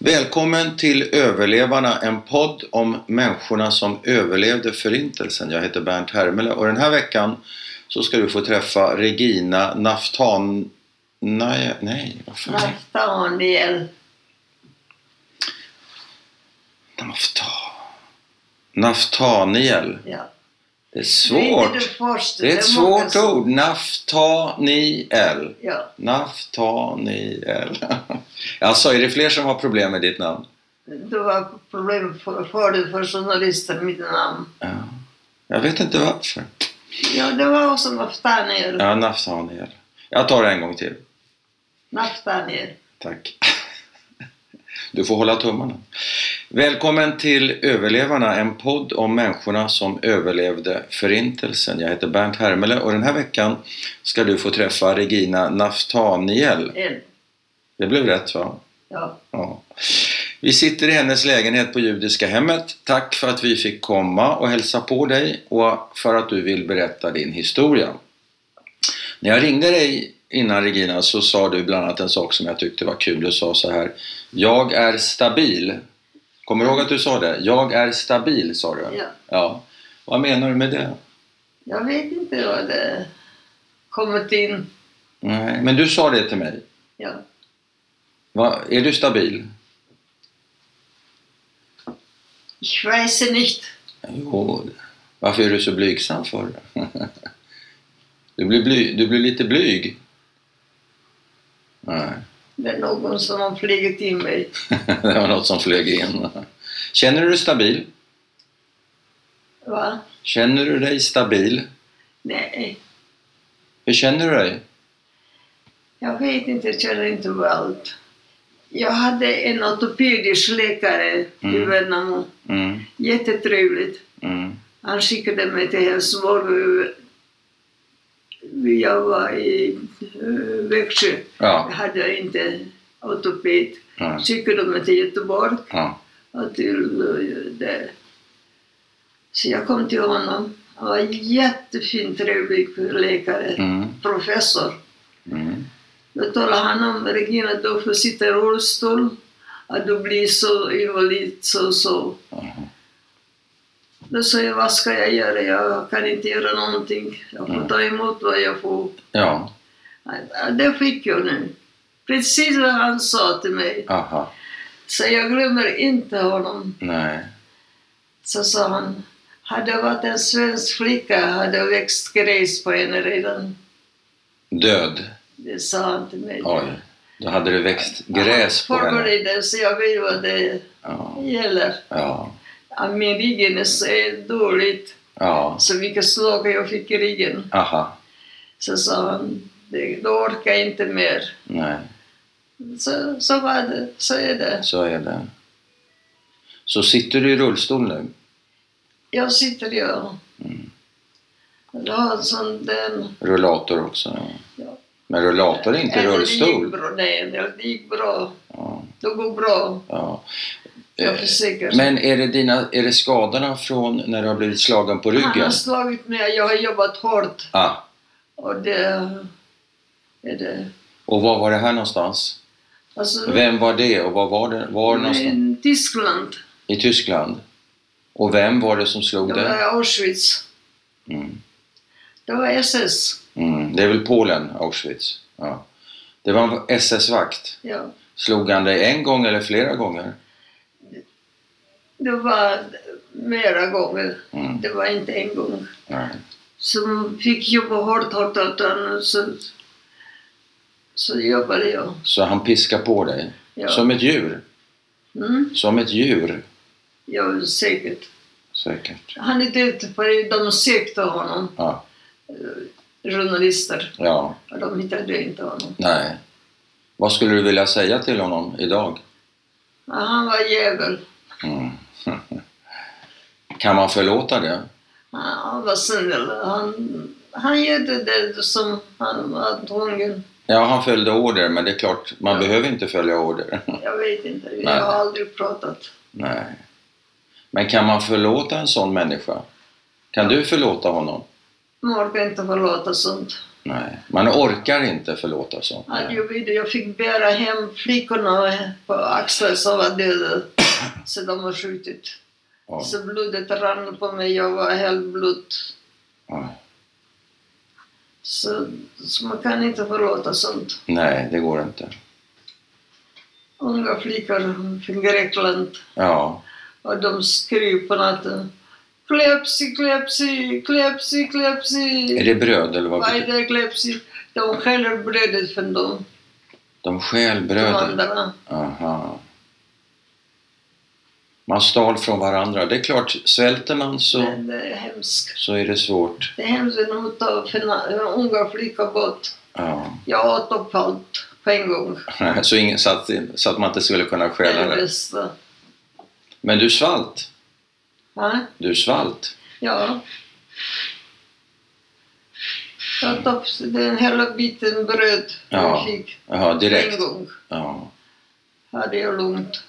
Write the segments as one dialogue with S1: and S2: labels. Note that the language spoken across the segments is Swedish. S1: Välkommen till Överlevarna, en podd om människorna som överlevde Förintelsen. Jag heter Bernt Hermele och den här veckan så ska du få träffa Regina Naftan... Nej, nej vad fan?
S2: Naftaniel.
S1: Nafta... Naftaniel.
S2: Ja.
S1: Det är
S2: Det är
S1: svårt.
S2: det första,
S1: Det är ett
S2: det många
S1: svårt
S2: som-
S1: ord. Naftaniel.
S2: Ja,
S1: Naftaniel. Alltså, är det fler som har problem med ditt namn?
S2: det var problem för, förut för journalister mitt namn.
S1: Ja. Jag vet inte varför.
S2: Ja, det var också Naftaniel.
S1: Ja, Naftaniel. Jag tar det en gång till.
S2: Naftaniel.
S1: Tack. Du får hålla tummarna. Välkommen till Överlevarna, en podd om människorna som överlevde Förintelsen. Jag heter Bernt Hermele och den här veckan ska du få träffa Regina Naftaniel.
S2: El.
S1: Det blev rätt va?
S2: Ja.
S1: Ja. Vi sitter i hennes lägenhet på Judiska hemmet. Tack för att vi fick komma och hälsa på dig och för att du vill berätta din historia. När jag ringde dig innan Regina så sa du bland annat en sak som jag tyckte var kul. Du sa så här. Jag är stabil. Kommer du ihåg att du sa det? Jag är stabil sa du.
S2: Ja.
S1: ja. Vad menar du med det?
S2: Jag vet inte vad det kommit in.
S1: Nej. Men du sa det till mig.
S2: Ja.
S1: Va? Är du stabil?
S2: Ich weiß nicht.
S1: Jo, varför är du så blygsam för? Du blir, bly, du blir lite blyg. Nej,
S2: Det är någon som har flugit in mig.
S1: det var något som flög in. Känner du dig stabil?
S2: Va?
S1: Känner du dig stabil?
S2: Nej.
S1: Hur känner du dig?
S2: Jag vet inte, jag känner inte allt. Jag hade en ortopedisk läkare i
S1: Mm.
S2: Värnamo.
S1: Mm,
S2: Jättetrevligt.
S1: mm,
S2: Han skickade mig till Helsingborg. Jag var i eh, Växjö. Jag
S1: ja,
S2: hade inte ortoped.
S1: ja,
S2: Skickade mig till Göteborg
S1: ja,
S2: och till eh, där. Så jag kom till honom. Han var jättefin, trevlig läkare,
S1: mm,
S2: professor.
S1: mm,
S2: Då talade han om Regina, du får sitta i rullstol. Att du blir så invalid, så så.
S1: Jaha.
S2: Då sa jag, vad ska jag göra? Jag kan inte göra någonting. Jag får
S1: Mm.
S2: ta emot vad jag får.
S1: ja,
S2: Ja, Det fick jag nu. Precis vad han sa till mig.
S1: aha,
S2: Så jag glömmer inte honom.
S1: nej,
S2: Så sa han, hade jag varit en svensk flicka hade jag växt gräs på henne redan.
S1: död.
S2: Det sa han till mig.
S1: Oj, då hade det växt gräs på
S2: Han
S1: henne.
S2: förberedde, så jag vet vad det
S1: Ja,
S2: gäller.
S1: ja,
S2: Ja, Min ryggen är så dåligt,
S1: ja,
S2: så vilka slag jag fick i ryggen.
S1: aha,
S2: Så sa han, "Det- då orkar jag inte mer.
S1: nej.
S2: Så, så var det, så är det.
S1: Så är det. Så sitter du i rullstol nu?
S2: Jag sitter jag.
S1: Mm.
S2: Jag har en sån den...
S1: Rullator också? Ja.
S2: Ja.
S1: Men rullator är inte
S2: Eller Det gick
S1: rullstol?
S2: bra, nej, det gick bra.
S1: Ja,
S2: Det går bra,
S1: ja.
S2: jag
S1: Eh,
S2: försäkrar.
S1: Men är det, dina, är det skadorna från när du har blivit slagen på
S2: Han har
S1: ryggen?
S2: slagit mig, jag har jobbat hårt.
S1: Ah,
S2: Och det... Är det.
S1: och var var det här någonstans?
S2: Alltså,
S1: Vem var det och var var det? Var någonstans?
S2: i Tyskland,
S1: I Tyskland? Och vem var det som slog
S2: det var i
S1: dig?
S2: Auschwitz.
S1: Mm.
S2: Det var SS.
S1: Mm. Det är väl Polen, Auschwitz? Ja. Det var en SS-vakt.
S2: Ja.
S1: Slog han dig en gång eller flera gånger?
S2: Det var mera gånger.
S1: Mm.
S2: Det var inte en gång.
S1: Nej.
S2: som fick jobba hårt, hårt, hårt. och Så, så jobbade jag.
S1: Så han piskade på dig?
S2: Ja.
S1: Som ett djur?
S2: Mm,
S1: Som ett djur,
S2: ja, säkert.
S1: säkert.
S2: Han är död, för de sökte honom,
S1: Ja,
S2: journalister,
S1: ja,
S2: och de hittade inte honom.
S1: nej. Vad skulle du vilja säga till honom idag?
S2: Ja, han var djävul.
S1: Mm. kan man förlåta det?
S2: Han, han var snäll. Han, han gjorde det som han var tvungen.
S1: Ja, han följde order, men det är klart, man
S2: Ja.
S1: behöver inte följa order.
S2: Jag vet inte, vi
S1: Nej.
S2: har aldrig pratat.
S1: nej. Men kan man förlåta en sån människa? Kan du förlåta honom?
S2: Man orkar inte förlåta sånt.
S1: Nej. Man orkar inte förlåta sånt.
S2: Ja, det
S1: Nej.
S2: gjorde det. Jag fick bära hem flickorna på axlar som var döda så de har skjutit.
S1: Oj,
S2: Så blodet rann på mig. Jag var helt blod.
S1: oj.
S2: Så, så man kan inte förlåta sånt.
S1: Nej, det går inte.
S2: Unga flickor från Grekland
S1: Ja,
S2: och de skrev på natten. Klepsi, klepsi, klepsi,
S1: är
S2: klepsi.
S1: det bröd eller vad
S2: Vad är
S1: betyder
S2: det klepsi? De skäller brödet från dem,
S1: De stjäl
S2: de
S1: brödet.
S2: andra.
S1: Aha. Man stal från varandra. Det är klart, svälter man så,
S2: Men det är hemskt.
S1: så är det svårt.
S2: Det är hemskt när man tar för na- unga flickor bort.
S1: Ja.
S2: Jag åt upp allt på en gång.
S1: Så, ingen, så, att, så att man inte skulle kunna
S2: Det
S1: stjäla
S2: är det
S1: det.
S2: bästa.
S1: Men du svalt.
S2: Ja.
S1: Du svalt.
S2: ja. Jag åt upp den hela biten bröd
S1: Ja,
S2: jag fick
S1: Ja,
S2: på
S1: direkt.
S2: en gång.
S1: Ja,
S2: Hade jag lugnt.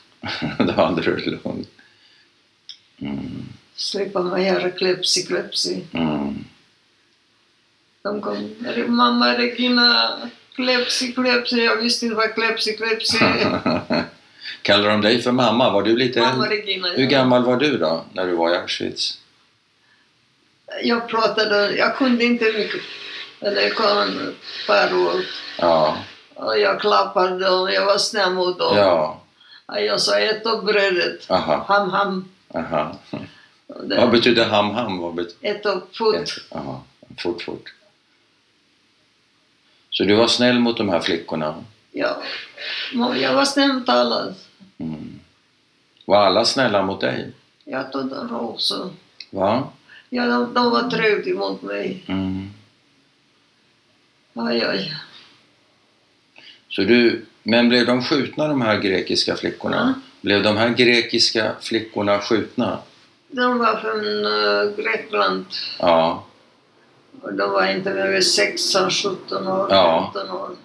S1: då hade du det lugnt. Mm.
S2: Slippa mig här klepsi, klepsi.
S1: Mm.
S2: De kom. Mamma Regina, klepsi, klepsi. Jag visste inte vad klepsi, klepsi är.
S1: Kallar de dig för mamma? Var du lite
S2: Mamma
S1: äldre?
S2: Regina.
S1: Hur
S2: ja.
S1: gammal var du då, när du var i Auschwitz?
S2: Jag pratade, jag kunde inte mycket. Det kom ett par år.
S1: Ja,
S2: Och jag klappade och jag var snäll mot dem.
S1: ja,
S2: Ja, Jag sa ett av brödet.
S1: aha,
S2: Ham ham.
S1: aha.
S2: Och
S1: Vad
S2: det-
S1: betyder ham ham? Vad betyder...
S2: Ett av fot.
S1: Aha, fort, fort. Så du var snäll mot de här flickorna?
S2: Ja. Men Jag var snäll mot alla.
S1: Mm. Var alla snälla mot dig?
S2: Jag tog dem också.
S1: Va?
S2: Ja, de, de var trevliga mot mig.
S1: Mm.
S2: Aj, aj.
S1: Så du, men blev de skjutna de här grekiska flickorna?
S2: Ja.
S1: Blev de här grekiska flickorna skjutna?
S2: De var från eh, Grekland.
S1: Ja,
S2: Och de var inte mer än 16, 17 år,
S1: Ja.
S2: 15 år.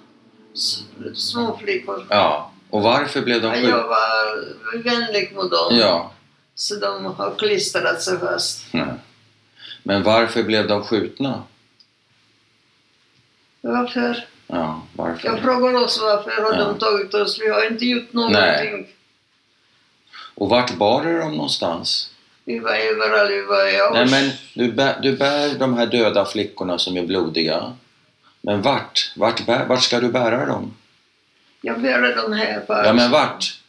S2: S- Små flickor.
S1: ja. Och varför blev de
S2: Ja,
S1: skjutna?
S2: Jag var vänlig mot dem.
S1: Ja.
S2: Så de har klistrat sig fast.
S1: Nej. Men varför blev de skjutna?
S2: Varför?
S1: Ja, varför?
S2: Jag frågar också varför har
S1: Ja.
S2: de tagit oss? Vi har inte gjort någonting.
S1: Nej. Och vart bar du dem någonstans?
S2: Vi var överallt, vi var i
S1: Nej,
S2: Aus-
S1: men du, bär, du bär de här döda flickorna som är blodiga. Men vart? Vart, bär, vart ska du bära dem?
S2: Jag bärde dem här på
S1: Ja, men vart?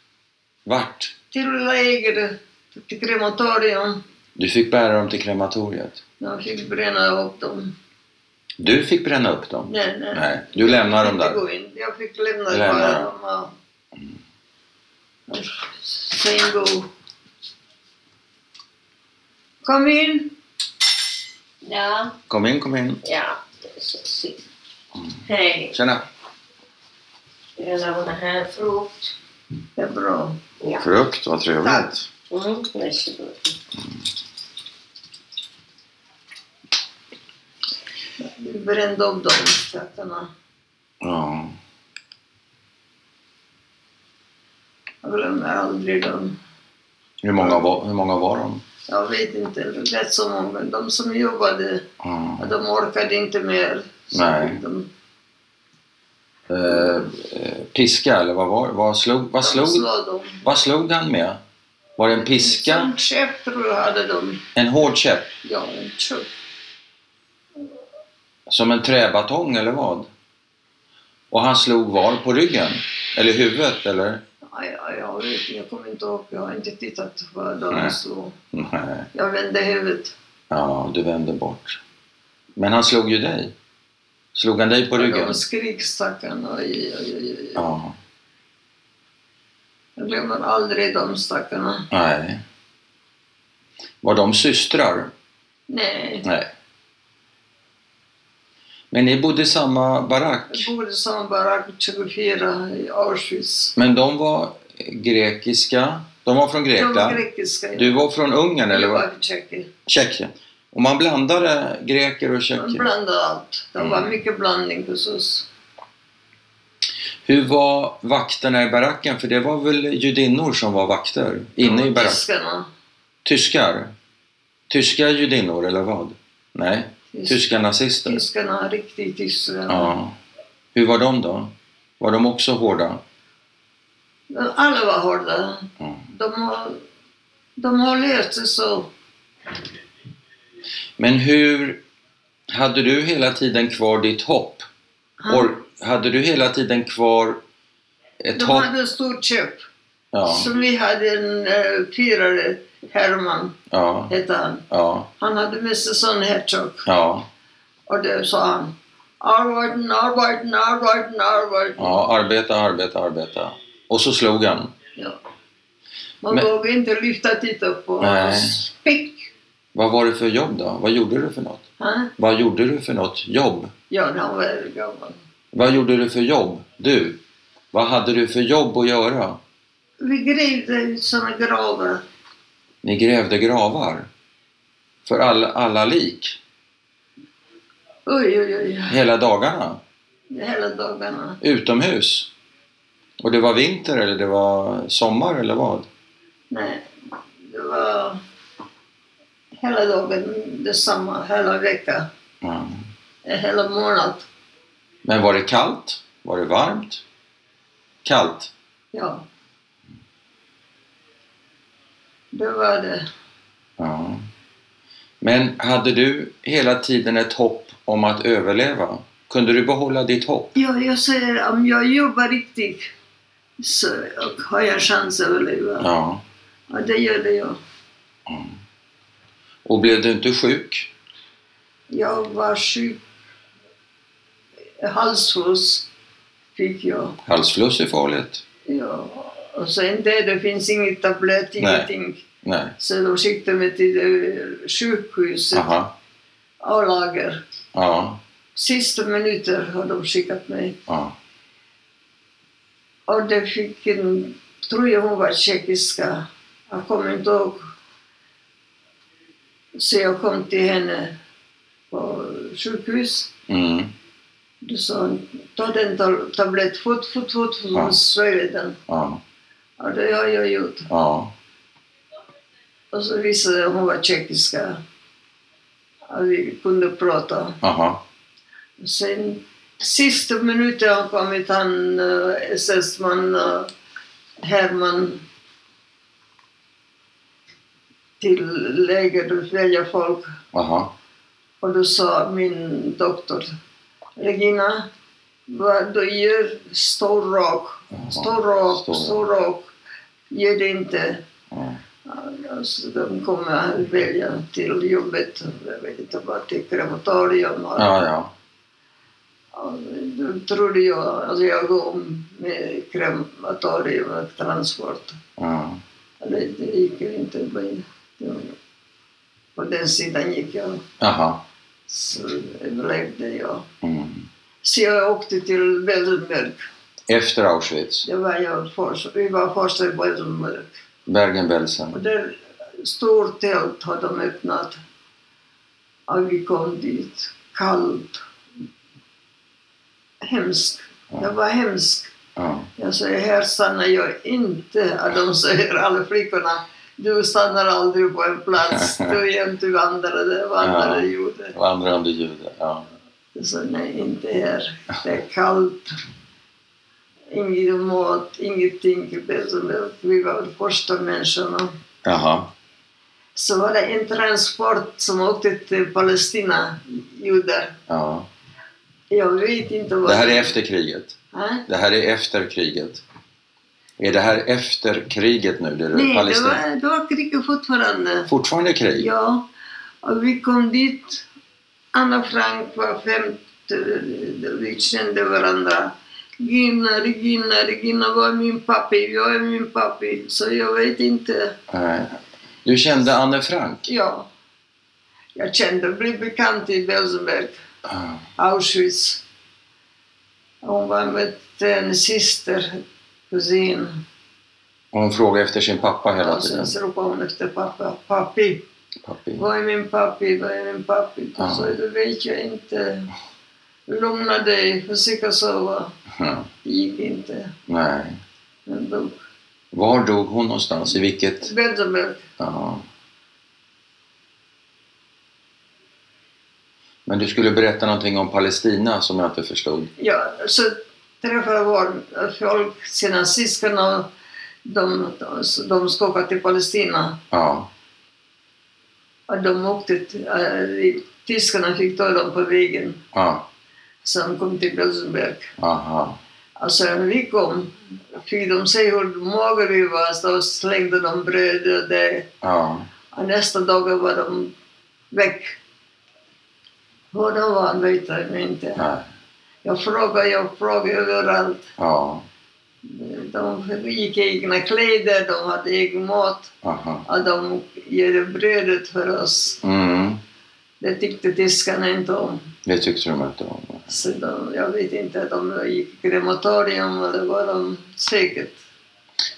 S1: Vart?
S2: till läger, till krematorium.
S1: Du fick bära dem till krematoriet.
S2: De fick bränna upp dem.
S1: Du fick bränna upp dem?
S2: Nej, nej.
S1: Nej, du lämnar dem
S2: Jag fick
S1: där.
S2: gå in. Jag fick lämna
S1: Lämna
S2: bara
S1: dem.
S2: dem. ja. Och Sen gå. Kom in!
S3: Ja,
S1: Kom in, kom in.
S3: ja. det är så synd. Hej,
S1: Tjena.
S3: jag lämnar här frukt.
S2: Det är bra.
S3: Ja.
S1: Frukt, vad trevligt.
S3: Mm, varsågod.
S2: Vi brände upp dem, katterna.
S1: Ja.
S2: Jag glömmer aldrig dem.
S1: Hur många var, hur många var de?
S2: Jag vet inte, rätt så många. De som jobbade,
S1: Ja.
S2: de orkade inte mer. Så
S1: Nej.
S2: fick De,
S1: Eh, eh, piska, eller vad var vad slog, vad
S2: de
S1: slog,
S2: slog dem.
S1: vad slog han med? Var det en piska?
S2: Som chef tror jag hade de.
S1: En hård käpp?
S2: Ja, en chef.
S1: Som en träbatong, eller vad? Och han slog var på ryggen? Eller huvudet, eller?
S2: Aj, aj, jag vet inte, jag kommer inte ihåg. Jag har inte tittat på
S1: Nej.
S2: de slog.
S1: Nej.
S2: Jag vände huvudet.
S1: Ja, du vände bort. Men han slog ju dig. Slog han dig på ryggen?
S2: De skrek stackarna. Aj, aj, aj, aj.
S1: Ja.
S2: Jag glömmer aldrig de stackarna.
S1: Nej. Var de systrar?
S2: Nej.
S1: Nej. Men ni bodde i samma barack?
S2: Jag bodde som barack 24 i Auschwitz.
S1: Men de var grekiska? De var från
S2: De var
S1: Grekland?
S2: grekiska.
S1: Du var från Ungern eller
S2: Jag
S1: vad?
S2: var tjecker.
S1: Tjeckien? Och man blandade greker och
S2: De
S1: tjecker?
S2: blandade allt. Det var
S1: Mm.
S2: mycket blandning hos oss.
S1: Hur var vakterna i baracken? För det var väl judinnor som var vakter inne i baracken?
S2: Tyskarna.
S1: Tyskar? Tyska judinnor eller vad? Nej? Tyska nazister?
S2: Tyskarna har riktigt tyskarna.
S1: Ja. Hur var de då? Var de också hårda?
S2: Alla var hårda.
S1: Ja.
S2: De har, de har lärt sig så.
S1: Men hur... Hade du hela tiden kvar ditt hopp?
S2: Han,
S1: Or, hade du hela tiden kvar ett
S2: de
S1: hopp?
S2: hade ett stort köp.
S1: Ja,
S2: Så vi hade en eh, firare, Herman
S1: ja,
S2: hette han.
S1: ja,
S2: Han hade med sig sån Hedgehog.
S1: ja.
S2: Och då sa han Arbeiten, arbeiten, arbeiten, arbeiten.
S1: ja arbeta, arbeta, arbeta. Och så slog han.
S2: Ja. Man
S1: Men-
S2: vågade inte lyfta titta upp på
S1: Nej.
S2: hans pick.
S1: Vad var det för jobb då? Vad gjorde du för något?
S2: Ja,
S1: Vad gjorde du för något jobb?
S2: han var gammal.
S1: Vad gjorde du för jobb? Du? Vad hade du för jobb att göra?
S2: Vi grävde ut såna gravar.
S1: Ni grävde gravar. För all, alla lik.
S2: Oj, oj, oj.
S1: Hela dagarna.
S2: Hela dagarna.
S1: Utomhus. Och det var vinter eller det var sommar eller vad?
S2: Nej, det var hela dagen detsamma. Hela vecka.
S1: Ja.
S2: eh, Hela månad.
S1: Men var det kallt? Var det varmt? Kallt?
S2: Ja. Det var det.
S1: Ja. Men hade du hela tiden ett hopp om att överleva? Kunde du behålla ditt hopp?
S2: Ja, jag säger om jag jobbar riktigt så har jag chans att överleva.
S1: Ja.
S2: Ja, det gjorde jag.
S1: Och blev du inte sjuk?
S2: Jag var sjuk. Halsfluss fick jag.
S1: Halsfluss är farligt.
S2: Ja. Och sen det, det finns inget tablett,
S1: Nej.
S2: ingenting.
S1: Nej.
S2: Så de skickade mig till eh, sjukhuset,
S1: Aha.
S2: A-lager.
S1: Ja.
S2: Sista minuter har de skickat mig.
S1: ja.
S2: Och det fick en, tror jag hon var tjeckiska, jag kommer inte ihåg. Så jag kom till henne på sjukhus.
S1: Mm.
S2: Då sa hon, ta den tab- tablett fort, fort, fort, fort,
S1: Ja.
S2: och svälj den.
S1: Ja.
S2: Och det har jag gjort.
S1: Ja.
S2: Och så visade det hon var tjeckiska. Och vi kunde prata.
S1: Aha.
S2: Sen sista minuten har kommit han eh, SS-man eh, Herman till läger att välja folk.
S1: Aha.
S2: Och då sa min doktor Regina, vad du gör, stå rak, stå
S1: Stå
S2: rak,
S1: rak.
S2: stå rak. Ge det inte.
S1: Ja.
S2: Alltså, de kommer att välja till jobbet, jag vet inte vad, till krematorium. och-
S1: Ja, ja.
S2: Ja, Då trodde jag, alltså jag går om med krematorium och transport.
S1: ja.
S2: Det, det gick ju inte. men det var- På den sidan gick jag,
S1: Aha.
S2: så överlevde jag.
S1: Mm.
S2: Så jag åkte till Beldenberg.
S1: Efter Auschwitz.
S2: Det var jag först, vi var först i Beldenberg. Och
S1: Bergen-Belsen.
S2: där, stort tält hade de öppnat. Och vi kom dit, kallt. Hemskt. Det var hemskt.
S1: Ja.
S2: Jag säger, här stannar jag inte. Och de säger, alla flickorna, du stannar aldrig på en plats. Du är jämt du vandrade, vandrade,
S1: Ja.
S2: gjorde.
S1: Vandrande judar. Ja.
S2: Jag sa, nej, inte här. Det är kallt. Ingen mat, ingenting. Vi var de första människorna.
S1: Jaha.
S2: Så var det en transport som åkte till Palestina, judar.
S1: Ja.
S2: Jag vet inte vad
S1: Det här är efter kriget.
S2: Ja?
S1: Det här är efter kriget. Är det här efter kriget nu? Det är
S2: Nej, det
S1: Palestina.
S2: var, det var kriget fortfarande.
S1: Fortfarande krig?
S2: Ja, och vi kom dit. Anna Frank var femte, vi kände varandra. Gina, Regina, Regina var min pappi, jag är min pappi, så jag vet inte.
S1: Nej. Du kände Anne Frank?
S2: Ja. Jag kände, blev bekant i Belsenberg,
S1: Ja.
S2: Auschwitz. Hon var med en syster, kusin.
S1: Hon frågade efter sin pappa hela
S2: Och
S1: tiden.
S2: sen så ropade hon efter pappa, pappi.
S1: Pappi.
S2: Vad är min pappi? Vad är min pappi?
S1: Ja.
S2: Så det vet jag inte. Lugna dig, försöka sova.
S1: Ja.
S2: Det gick inte.
S1: Nej.
S2: Men dog.
S1: Var dog hon någonstans? I vilket?
S2: Benjamin,
S1: Ja. Men du skulle berätta någonting om Palestina som jag inte förstod.
S2: Ja, så träffade vår folk sina syskon och de, de, de ska åka till Palestina.
S1: Ja,
S2: Och de åkte till, äh, tyskarna fick ta dem på vägen.
S1: ja,
S2: Så de kom till Rosenberg.
S1: aha.
S2: Alltså när vi kom fick de se hur magra vi var så då slängde de bröd och det.
S1: Ja,
S2: Och nästa dag var de väck. Hur de var vet jag inte.
S1: nej,
S2: Jag frågade, jag frågade överallt.
S1: ja,
S2: De gick i egna kläder, de hade egen mat
S1: aha.
S2: och de gjorde brödet för oss.
S1: Mm,
S2: Det tyckte tyskarna inte om.
S1: det tyckte de inte om.
S2: Så de, jag vet inte, de gick i krematorium eller vad de säkert.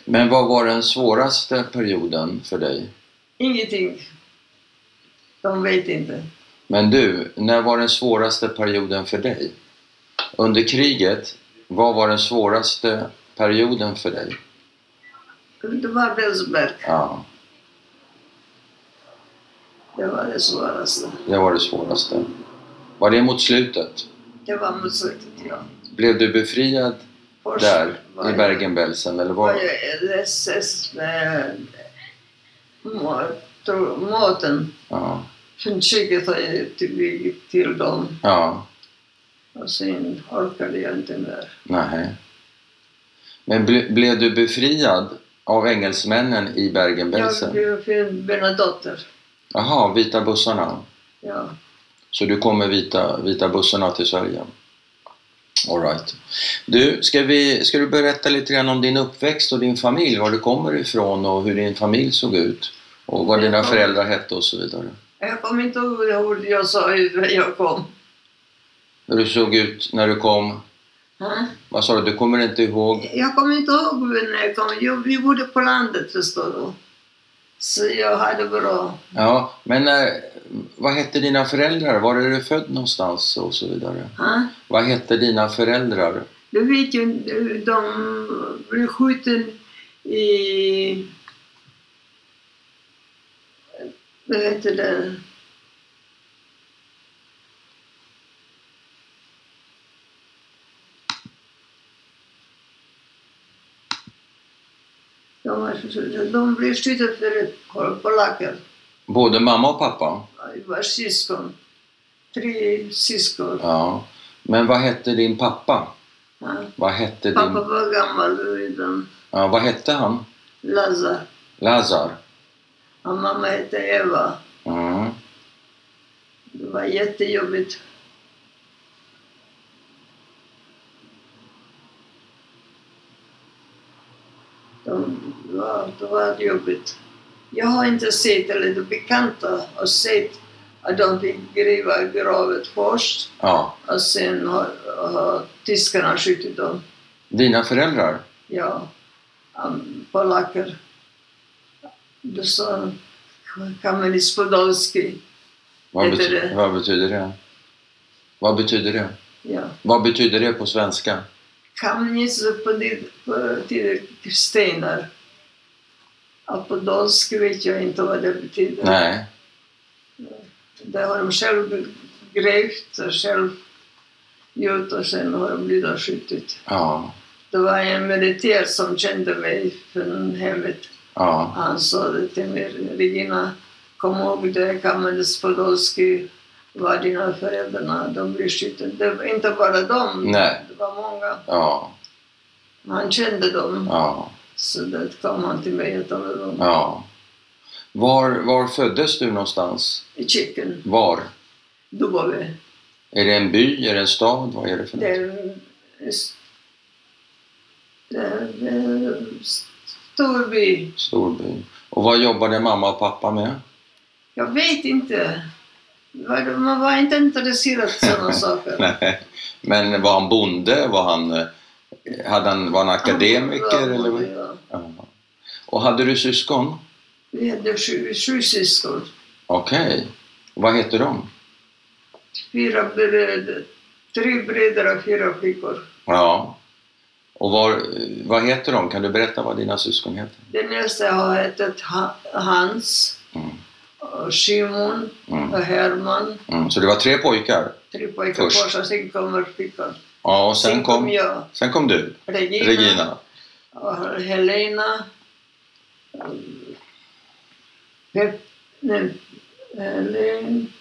S1: Men vad var den svåraste perioden för dig?
S2: Ingenting. De vet inte.
S1: Men du, när var den svåraste perioden för dig? Under kriget, vad var den svåraste perioden för dig?
S2: Det var Belsberg.
S1: Ja,
S2: Det var det svåraste.
S1: det var det svåraste. Var det mot slutet?
S2: Det var mot slutet, ja.
S1: Blev du befriad
S2: Först
S1: där,
S2: var
S1: i
S2: jag-
S1: Bergen-Belsen? Eller
S2: var
S1: var...
S2: jag LSS med mat- maten.
S1: Ja,
S2: Från köket har jag till, till dem.
S1: ja,
S2: Och sen orkade jag inte mer.
S1: nej. Men ble, blev du befriad av engelsmännen i
S2: Jag
S1: Bergen-Belsen?
S2: blev för Bernadotter.
S1: Jaha, vita bussarna.
S2: Ja.
S1: Så du kommer vita, vita bussarna till Sverige? All right. Du, ska, vi, ska du berätta lite grann om din uppväxt och din familj, var du kommer ifrån och hur din familj såg ut? Och vad dina
S2: Jag kommer-
S1: föräldrar hette och så vidare.
S2: Jag kommer inte ihåg hur jag sa hur jag kom.
S1: Hur du såg ut när du kom?
S2: Ha?
S1: Vad sa du? Du kommer inte ihåg?
S2: Jag kommer inte ihåg när jag kom. Jo, vi bodde på landet, förstår du. Så jag hade bra.
S1: Ja, men när, vad hette dina föräldrar? Var är du född någonstans och så vidare?
S2: Ha?
S1: Vad hette dina föräldrar?
S2: Du vet ju, de blev skjuten i... Vad heter det? De, var- de blev skjutna för pol- polacker.
S1: Både mamma och pappa?
S2: Vi var syskon. Tre syskon.
S1: Ja. Men vad hette din pappa?
S2: Ja.
S1: Vad hette din...
S2: Pappa var gammal redan.
S1: Ja, vad hette han?
S2: Lazar.
S1: Lazar?
S2: Och mamma hette Eva.
S1: Mm.
S2: Det var jättejobbigt. De, det, var, det var jobbigt. Jag har inte sett, eller de bekanta har sett att de fick gräva gravet först
S1: Ja.
S2: och sen har, har tyskarna skjutit dem.
S1: Dina föräldrar?
S2: Ja, um, polacker. Du sa Kamelis Podolski.
S1: Vad,
S2: Heter
S1: bety-
S2: det.
S1: vad betyder det? Vad betyder det?
S2: Ja.
S1: Vad betyder det på svenska?
S2: Kamenice på, det- på till stenar. Apodolsk vet jag inte vad det betyder.
S1: Nej.
S2: Det har de själv grävt och själv gjort och sen har de blivit skjutit.
S1: Ja.
S2: Det var en militär som kände mig från hemmet.
S1: Ja.
S2: Han sa det till mig, Regina, kom ihåg det, Kamenice Podolski var dina föräldrar, de blev skjutna. Det var inte bara dem,
S1: Nej.
S2: det var många.
S1: Ja.
S2: Han kände dem.
S1: Ja.
S2: Så det kom han till mig och talade om.
S1: Ja. Var, var föddes du någonstans?
S2: I Chicken,
S1: Var?
S2: då var vi.
S1: Är det en by? Är det en stad? Vad är det för
S2: Det
S1: något?
S2: är en stor by.
S1: Storby. Och vad jobbade mamma och pappa med?
S2: Jag vet inte. Var- Man var inte intresserad av sådana saker.
S1: Nej. Men var han bonde? Var han, eh, hade han, var han akademiker? eller vad?
S2: Ja.
S1: Ja. Och hade du syskon?
S2: Vi hade sju, sju syskon.
S1: Okej. Vad heter de?
S2: Fyra bröder. Tre bröder och fyra flickor.
S1: Ja. Och var, vad heter de? Kan du berätta vad dina syskon heter?
S2: Den äldsta har hetat Ha- Hans.
S1: Mm.
S2: Och och Simon
S1: Mm.
S2: och Herman.
S1: Mm. Så det var tre pojkar?
S2: Tre pojkar
S1: Först.
S2: först och sen kommer flickan.
S1: Ja, och sen kom,
S2: jag,
S1: sen kom du,
S2: Regina,
S1: Regina.
S2: och Helena. mm, Pep, nej, Helen,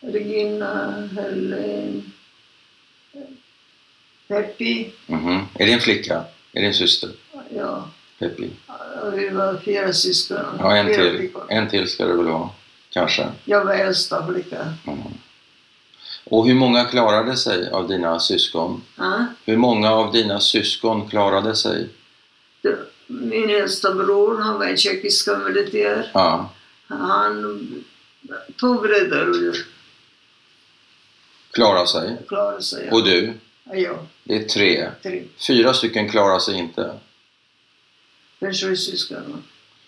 S2: Regina, Helen, Peppi.
S1: Mhm. Är det en flicka? Är det en syster?
S2: Ja,
S1: Peppi.
S2: och vi var fyra syskon.
S1: Ja, en
S2: fyra
S1: till.
S2: flickor.
S1: En till ska det väl vara, kanske.
S2: Jag var äldsta flicka.
S1: Mhm. Och hur många klarade sig av dina syskon?
S2: Ja.
S1: Hur många av dina syskon klarade sig?
S2: Min äldsta bror, han var en tjeckisk militär.
S1: Ja.
S2: Han, två bröder
S1: Klarade sig.
S2: klarade sig.
S1: Och du?
S2: Ja,
S1: Det är tre.
S2: tre.
S1: Fyra stycken klarar sig inte.
S2: Försvarssyskan.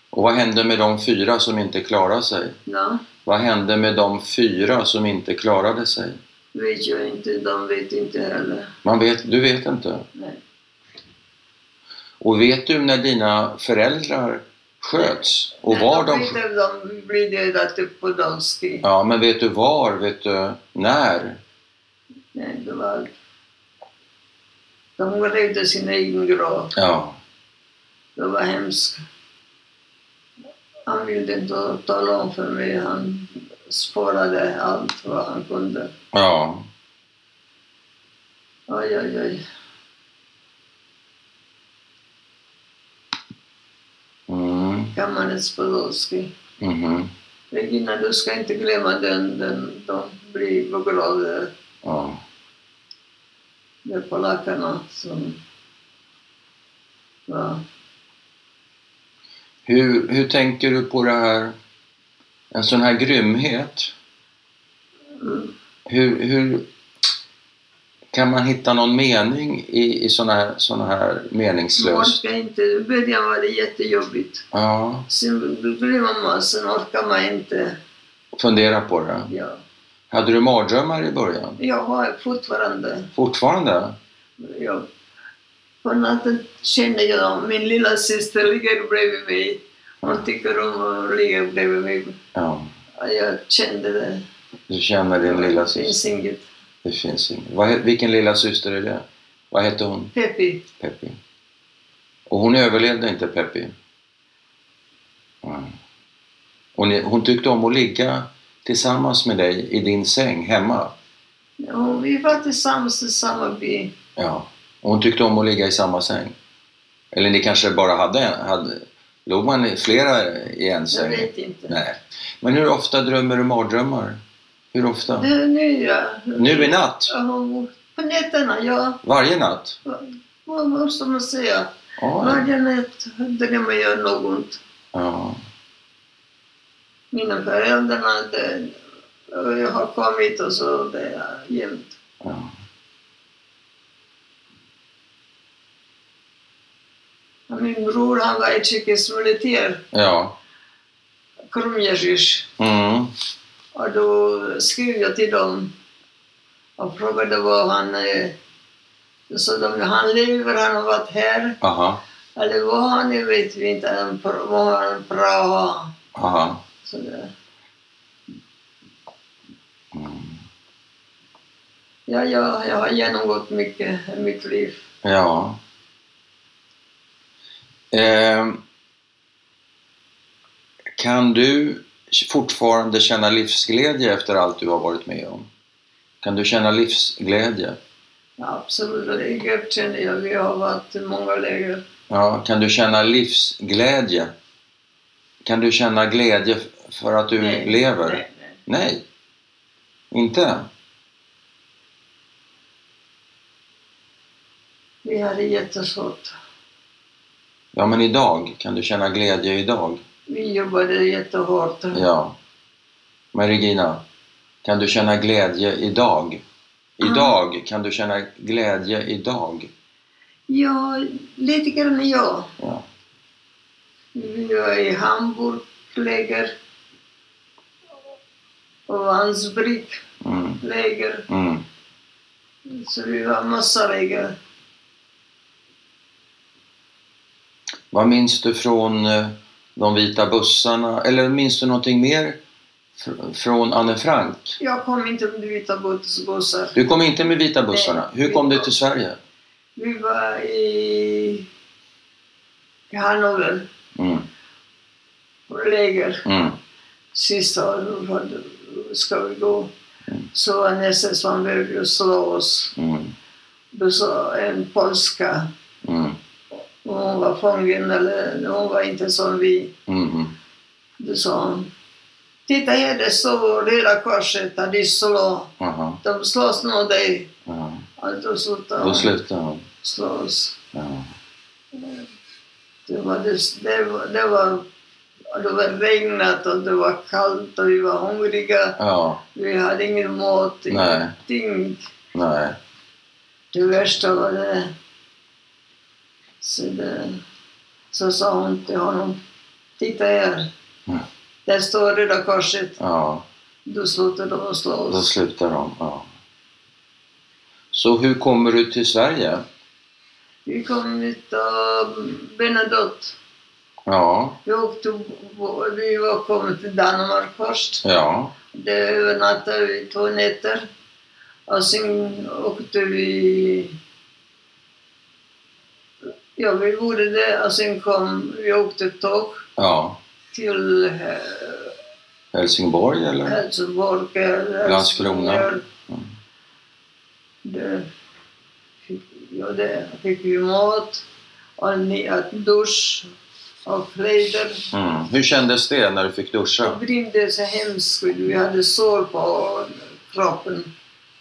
S1: Och vad hände med de fyra som inte klarade sig?
S2: Ja,
S1: Vad hände med de fyra som inte klarade sig?
S2: vet jag inte. De vet inte heller.
S1: Man vet, du vet inte.
S2: Nej.
S1: Och vet du när dina föräldrar sköts? Och var
S2: de...
S1: de
S2: vet
S1: sköts?
S2: att de blir dödade typ på danski.
S1: Ja, men vet du var? Vet du när?
S2: Nej, det var... De grävde sin egen grav.
S1: Ja.
S2: Det var hemskt. Han ville inte tala om för mig. Han sparade allt vad han kunde.
S1: Ja.
S2: Oj, oj, oj.
S1: Mm.
S2: Kammarens Podolski.
S1: Mhm.
S2: Regina, du ska inte glömma den. den de blir begravda
S1: Ja.
S2: med polackerna som... Ja.
S1: Hur, hur tänker du på det här? En sån här grymhet?
S2: Mm.
S1: Hur, hur kan man hitta någon mening i, i såna här, såna här
S2: Man
S1: meningslöst?
S2: orkar inte. I början var det jättejobbigt.
S1: Ja,
S2: Sen glömmer man, sen orkar man inte.
S1: fundera på det.
S2: Ja.
S1: Hade du mardrömmar i början?
S2: Jag har fortfarande...
S1: Fortfarande?
S2: Ja. På natten känner jag dem. Min lilla syster ligger bredvid mig. Hon tycker om att ligga bredvid mig.
S1: Ja,
S2: Ja, Jag kände det.
S1: du känner din lilla
S2: Det
S1: syster.
S2: finns inget.
S1: Det finns ingen. Vad, he- vilken lilla syster är det? Vad hette hon?
S2: Peppi.
S1: Peppi. Och hon överlevde inte Peppi? Mm. Och ni, hon tyckte om att ligga tillsammans med dig i din säng hemma?
S2: Ja, vi var tillsammans i samma by.
S1: Ja, och hon tyckte om att ligga i samma säng. Eller ni kanske bara hade en? Hade, låg man i flera i en
S2: Jag
S1: säng?
S2: vet inte.
S1: Nej. Men hur ofta drömmer du mardrömmar? Hur ofta?
S2: Det, nu ja.
S1: Nu i natt?
S2: Ja, På nätterna, ja.
S1: Varje natt?
S2: Vad måste man säga?
S1: Ja.
S2: Varje natt drömmer jag något.
S1: ja.
S2: Mina föräldrar, det, och jag har kommit och så det är jämt.
S1: ja.
S2: Och Min bror, han var tjeckisk militär,
S1: ja.
S2: krumjezisch.
S1: Mm.
S2: Och då skrev jag till dem och frågade vad han... eh, Då sa de, han lever, han har varit här.
S1: Aha.
S2: Eller vad han är vet vi inte, han pr- vad han pratar.
S1: Aha.
S2: Så där.
S1: Mm.
S2: Ja, ja, jag har genomgått mycket i mitt liv.
S1: Ja. Ehm. Kan du fortfarande känna livsglädje efter allt du har varit med om? Kan du känna livsglädje?
S2: Absolut, läger känner jag. Vi har varit i många läger.
S1: Ja, kan du känna livsglädje? Kan du känna glädje f- för att du
S2: Nej,
S1: lever?
S2: Nej, nej.
S1: Nej. Inte?
S2: Vi hade jättesvårt.
S1: Ja, men idag. Kan du känna glädje idag?
S2: Vi jobbade jättehårt.
S1: Ja. Men Regina, kan du känna glädje idag? Idag, kan du känna glädje idag?
S2: Ja, lite grann ja.
S1: Ja.
S2: Vi var i Hamburg, läger. Och Ansbrück,
S1: Mm,
S2: läger.
S1: mm,
S2: Så vi var massa läger.
S1: Vad minns du från eh, de vita bussarna? Eller minns du någonting mer Fr- Från Anne Frank.
S2: Jag kom inte med vita buss- bussar.
S1: Du kom inte med vita bussarna. Hur kom du till Sverige?
S2: Vi var i, i Hannover,
S1: Mm.
S2: på läger.
S1: Mm.
S2: Sista året, vad ska vi gå? Så var nästa som behövde slå oss.
S1: Mm.
S2: Då sa en polska,
S1: Mm.
S2: hon var fången, eller hon var inte som vi.
S1: Mm.
S2: Då sa hon, titta här, det står Röda Korset, där de slår.
S1: Aha.
S2: De slåss nog dig.
S1: Ja.
S2: Ja, Då slutade
S1: Då
S2: hon
S1: slutade hon.
S2: slåss.
S1: Ja.
S2: Det var, det, det var, det var och det var regnat och det var kallt och vi var hungriga.
S1: ja.
S2: Vi hade ingen mat,
S1: Nej.
S2: ingenting.
S1: Nej.
S2: Det värsta var det. Så, det, så sa hon till honom. Titta här.
S1: Mm.
S2: Där står Röda Korset.
S1: Ja.
S2: Då slutade de att slå
S1: Då
S2: oss.
S1: slutar de. Ja. Så hur kommer du till Sverige?
S2: Vi kom ut av Bernadotte.
S1: Ja.
S2: Vi, åkte, vi var kommit till Danmark först.
S1: Ja.
S2: Där övernattade vi två nätter. Och sen åkte vi... Ja, vi gjorde det och sen kom... Vi åkte tåg
S1: Ja.
S2: till eh,
S1: Helsingborg eller?
S2: Helsingborg. eh, eller
S1: Landskrona.
S2: Helsingör.
S1: Mm.
S2: Det fick, ja, det fick vi mat och ni- att dusch och kläder.
S1: Mm. Hur kändes det när du fick
S2: Det
S1: duscha?
S2: brände så hemskt. Vi hade sår på kroppen.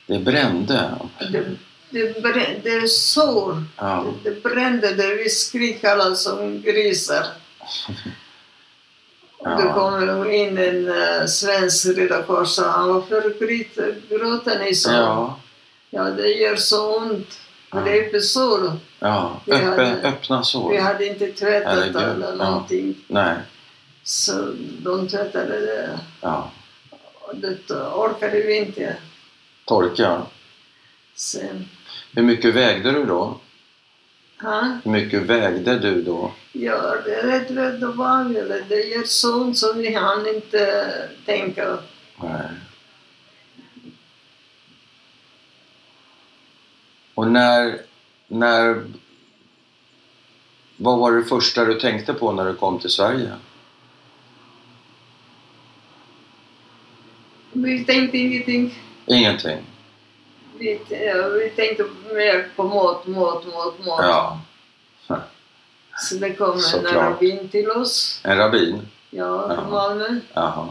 S1: Det brände.
S2: Det, det, brände, det är sår.
S1: Ja.
S2: Det, det brände. Det, vi skrek alla som grisar.
S1: Ja.
S2: Då kom in en eh, svensk Röda Kors och han varför gråter- gråter ni så?
S1: Ja.
S2: Ja, det gör så ont.
S1: Ja.
S2: Det är öppet sår.
S1: ja.
S2: Vi
S1: Öppe,
S2: hade-
S1: öppna
S2: Vi
S1: sår.
S2: hade inte tvättat
S1: Herregud,
S2: eller
S1: ja.
S2: någonting.
S1: Nej.
S2: Så de tvättade det.
S1: Ja.
S2: Och det orkade vi inte.
S1: Torka.
S2: Sen,
S1: Hur mycket vägde du då?
S2: ja,
S1: Hur mycket vägde du då?
S2: ja, det är rätt rädd och vanligt. Det gör så ont så vi hann inte tänka.
S1: Nej. Och när, när... Vad var det första du tänkte på när du kom till Sverige?
S2: Vi tänkte ingenting.
S1: Ingenting?
S2: Vi, ja, vi tänkte mer på mat, mat, mat, mat.
S1: Ja.
S2: Så det kom en
S1: Såklart.
S2: arabin till oss.
S1: En rabbin?
S2: Ja,
S1: Ja.
S2: från Malmö.
S1: Jaha.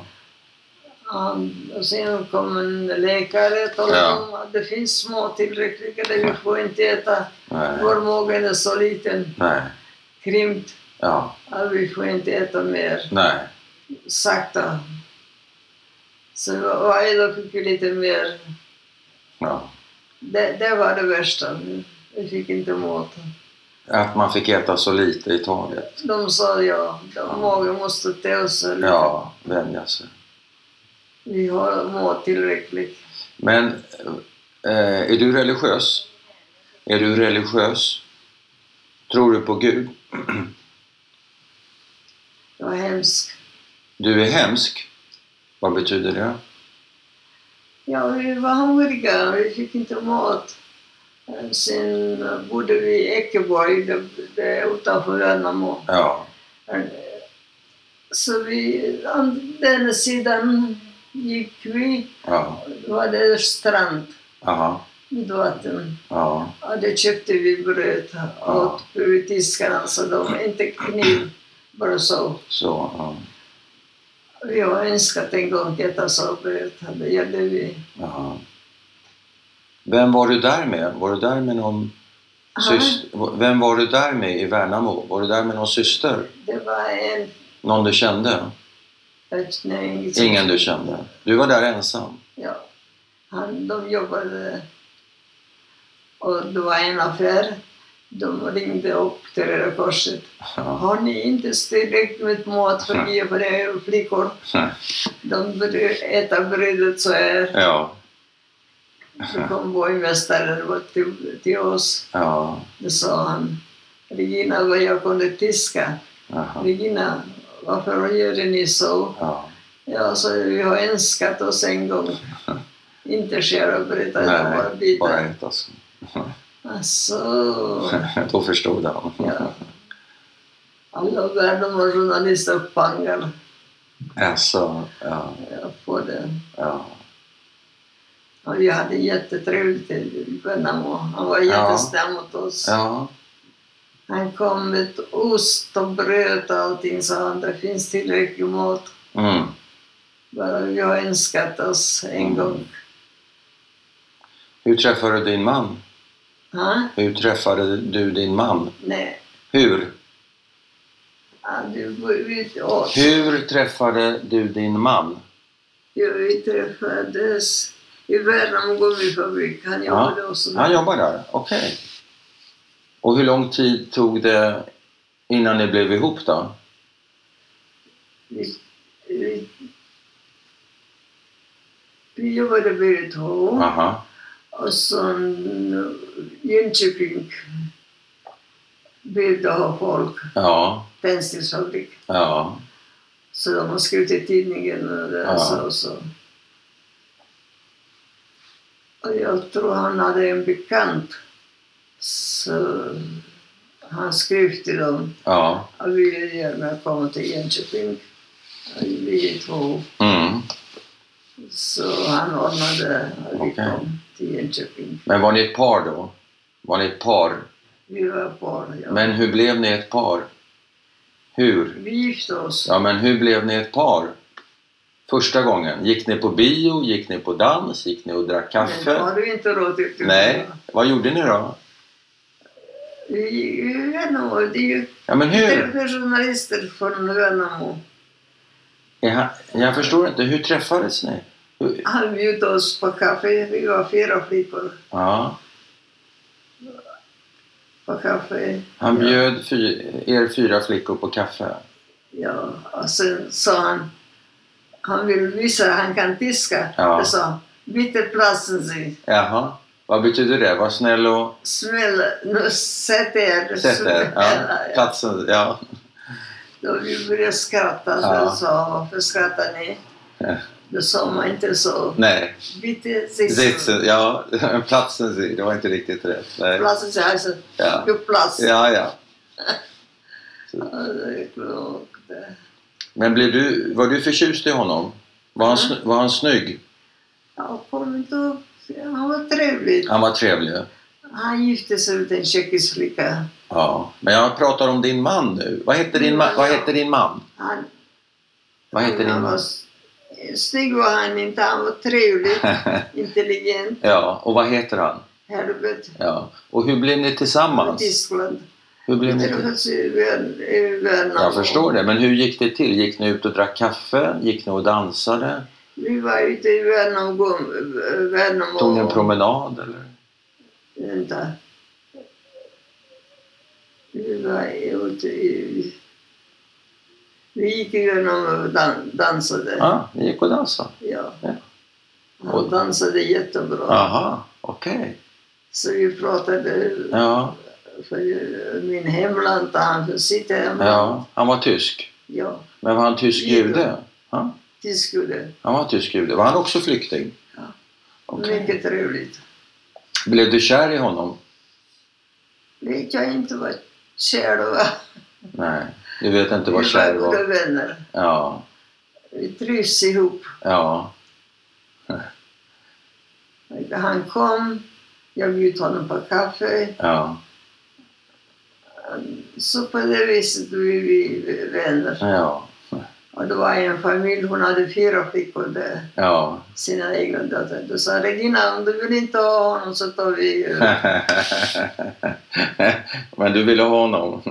S2: Han, och sen kom en läkare och talade
S1: Ja.
S2: om att det finns mat tillräckligt. Det vi får inte äta.
S1: Nej.
S2: Vår mage är så liten.
S1: Nej.
S2: Krympt.
S1: Ja.
S2: Ja, vi får inte äta mer.
S1: Nej.
S2: Sakta. Så varje dag fick vi lite mer.
S1: Ja.
S2: Det, det var det värsta. Vi fick inte mat.
S1: Att man fick äta så lite i taget.
S2: De sa ja, de magen måste ta sig lite.
S1: Ja, vänja sig.
S2: Vi har mat tillräckligt.
S1: Men eh, är du religiös? Är du religiös? Tror du på Gud?
S2: Det var hemskt.
S1: Du är hemsk. Vad betyder det?
S2: Ja, vi var hungriga. Vi fick inte mat. Eh, Sen bodde vi i Ekeborg, det, det är utanför Värnamo. Eh,
S1: Ja.
S2: Så vi, an- den sidan gick vi
S1: Ja.
S2: Det var det strand
S1: Aha.
S2: vid vatten.
S1: Ja.
S2: Och det köpte vi bröd
S1: Ja.
S2: åt tiskarna så de inte kniv. Bara så.
S1: Så. Ja.
S2: Vi har önskat en gång äta så bröd. Det gjorde vi.
S1: Aha. Vem var du där med? Var du där med någon syster? Vem var du där med i Värnamo? Var du där med någon syster?
S2: Det var en...
S1: Någon du kände?
S2: ett- Nej, inget-
S1: Ingen du kände? Du var där ensam?
S2: Ja. Han, de jobbade... Och det var en affär. De ringde upp till Röda Korset.
S1: Ja.
S2: Har ni inte tillräckligt med mat för er för era flickor? De brö- äta brödet så här.
S1: Ja.
S2: Så kom borgmästaren upp till, till oss.
S1: Ja.
S2: Då sa han, Regina, vad jag kunde tiska.
S1: Aha.
S2: Regina, varför gör ni så?
S1: Ja.
S2: Ja, så vi har önskat oss en gång. Inte självberätta, utan bara
S1: Nej, bara
S2: bitar.
S1: ett alltså.
S2: Alltså,
S1: Då förstod han.
S2: ja. Alla världen var journalister och pangar
S1: Alltså, ja,
S2: ja, på det.
S1: ja.
S2: Och vi hade jättetrevligt i Värnamo. Han var
S1: Ja.
S2: jättesnäll mot oss.
S1: ja.
S2: Han kom med ost och bröd och allting, sa han. Det finns tillräckligt mat.
S1: Mm.
S2: Bara vi har önskat oss en
S1: Mm.
S2: gång.
S1: Hur träffade du din man?
S2: Ha?
S1: Hur träffade du din man?
S2: Nej,
S1: Hur?
S2: ja, du vi åt.
S1: Hur träffade du din man?
S2: Ja, vi träffades i Värnamo gummifabrik. Han jobbade också
S1: Han
S2: där.
S1: jobbar där? Okej. Och hur lång tid tog det innan ni blev ihop då?
S2: Vi, vi, vi jobbade bägge två.
S1: Aha.
S2: Och sen Jönköping ville ha folk,
S1: Ja,
S2: tändsticksfabrik.
S1: ja,
S2: Så de har skrivit i tidningen och det
S1: Ja.
S2: så och så. Och jag tror han hade en bekant. Så han skrev till dem
S1: ja.
S2: att vi vill gärna komma till Jönköping. Vi två.
S1: Mm.
S2: Så han ordnade att vi
S1: Okej.
S2: kom till Jönköping.
S1: Men var ni ett par då? Var ni ett par?
S2: Vi var par. Ja.
S1: Men hur blev ni ett par? Hur?
S2: Vi gifte oss.
S1: Ja, men hur blev ni ett par? Första gången? Gick ni på bio? Gick ni på dans? Gick ni och drack
S2: Men
S1: kaffe?
S2: har du inte råd till det?
S1: Nej. Vad gjorde ni då?
S2: Vi- vi- Värnamo, det är ju
S1: Ja, men hur?
S2: träffar journalister från Värnamo.
S1: Jag, jag förstår inte. Hur träffades ni? Hur-
S2: Han bjöd oss på kaffe. Vi var fyra flickor
S1: Ja,
S2: på kaffe.
S1: han
S2: Ja.
S1: bjöd fy, er fyra flickor på kaffe.
S2: Ja, och sen sa han, han vill visa att han kan diska.
S1: Ja.
S2: Jag sa, bytte platsen sig.
S1: Jaha. Vad betyder det? Var snäll och
S2: Smäll, nu sätt er.
S1: sätt er. Ja.
S2: Smäll.
S1: Platsen, ja.
S2: Då vi började skratta.
S1: Ja.
S2: Då sa han, varför skrattar ni?
S1: Ja.
S2: Då sa man inte så.
S1: Nej.
S2: Bytte sitsen.
S1: Sitsen, ja, platsen, det var inte riktigt rätt. Nej.
S2: Platsen sig, alltså,
S1: Ja.
S2: bytte plats.
S1: Ja, ja.
S2: Ja, det är klokt.
S1: Men blev du, var du förtjust i honom? Var han, sny- var han snygg?
S2: Ja, kom inte upp. Han var trevlig.
S1: Han var trevlig.
S2: Han gifte sig med en tjeckisk flicka.
S1: Ja. Men jag pratar om din man nu. Vad hette din, ma- vad hette din man?
S2: Han,
S1: Vad hette din
S2: han var,
S1: man?
S2: s- snygg var han inte. Han var trevlig, intelligent.
S1: Ja, och vad heter han?
S2: Herbert
S1: Ja. Och hur blev ni
S2: från
S1: tillsammans?
S2: Tyskland.
S1: Hur blev ni till-
S2: Träffades i Värn- i Värnamo.
S1: jag förstår det, men hur gick det till? Gick ni ut och drack kaffe? Gick ni och dansade?
S2: Vi var ute i Värnamo. Värnamo.
S1: Tog ni en promenad? Eller?
S2: Vänta. Vi var ute i... Vi gick igenom och dan, dansade.
S1: Ja, ah, ni gick och dansade.
S2: Ja.
S1: Ja.
S2: Han dansade jättebra.
S1: Aha, okej.
S2: Så vi pratade
S1: Ja,
S2: för min hemland, där han för sitt hemland.
S1: ja, han var tysk.
S2: Ja.
S1: Men var han tysk
S2: Judo.
S1: jude? Ja,
S2: det skulle.
S1: han var tysk jude. Var han också flykting?
S2: Ja.
S1: Okej.
S2: Mycket trevligt.
S1: Blev du kär i honom?
S2: Vet jag inte vad kär du var.
S1: Nej, du vet inte vad kär
S2: Vi var goda
S1: var.
S2: vänner.
S1: Ja,
S2: Vi trivs ihop.
S1: ja,
S2: Han kom, jag bjöd honom på kaffe.
S1: ja,
S2: Så på det viset blev vi vänner.
S1: ja,
S2: Och det var en familj, hon hade fyra flickor där.
S1: ja.
S2: sina egna döttrar. Då sa han, Regina, om du vill inte ha honom så tar vi... eh,
S1: Men du ville ha honom.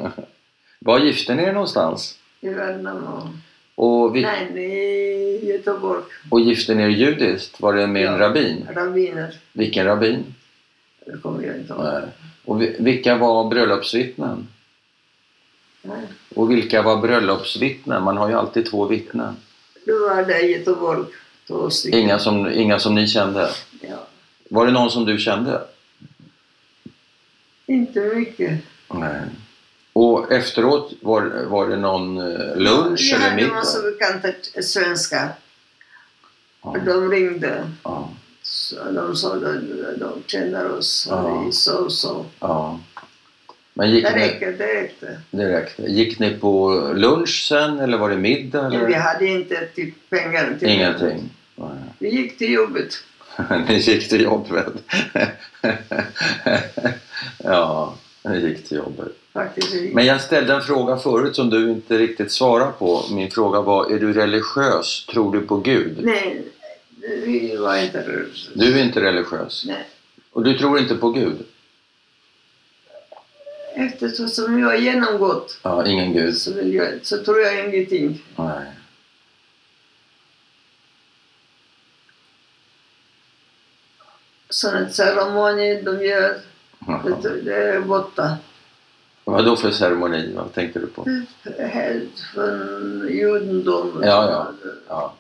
S1: Var gifte ni er någonstans?
S2: i Värnamo.
S1: Och, vi,
S2: Nej, i Göteborg.
S1: och gifte ni er judiskt? Var det med en
S2: Ja.
S1: rabbin?
S2: Rabbiner.
S1: Vilken rabbin?
S2: Det kommer jag inte ihåg.
S1: Nej. Och vi, vilka var bröllopsvittnen?
S2: Nej.
S1: Och vilka var bröllopsvittnen? Man har ju alltid två vittnen.
S2: Du var där i Göteborg. Två stycken.
S1: Inga som, inga som ni kände?
S2: Ja.
S1: Var det någon som du kände?
S2: Inte mycket.
S1: Nej. Och efteråt, var, var det någon eh, lunch
S2: Vi
S1: eller
S2: hade
S1: middag?
S2: massa bekanta t- svenskar.
S1: Ja.
S2: De ringde.
S1: Ja.
S2: Så de sa att de, de känner oss.
S1: Ja.
S2: Vi så så.
S1: ja. Men gick
S2: Det
S1: ni,
S2: räcker, det räckte.
S1: det räckte. Gick ni på lunch sen eller var det middag? Eller?
S2: Vi hade inte typ pengar till
S1: Ingenting. Nej.
S2: Vi gick till jobbet.
S1: ni gick till jobbet. ja, ni gick till jobbet.
S2: Faktiskt. Vi gick.
S1: Men jag ställde en fråga förut som du inte riktigt svarade på. Min fråga var, är du religiös? Tror du på Gud?
S2: Nej, vi var inte religiösa.
S1: Du är inte religiös.
S2: Nej.
S1: Och du tror inte på Gud?
S2: Eftersom jag har genomgått
S1: Ja, ingen Gud.
S2: så, vill jag, så tror jag ingenting.
S1: Nej.
S2: Sådana ceremonier de gör, det, det är borta.
S1: Vad då för ceremoni? Vad tänkte du på?
S2: Mm. Helt från judendomen
S1: Ja, Ja,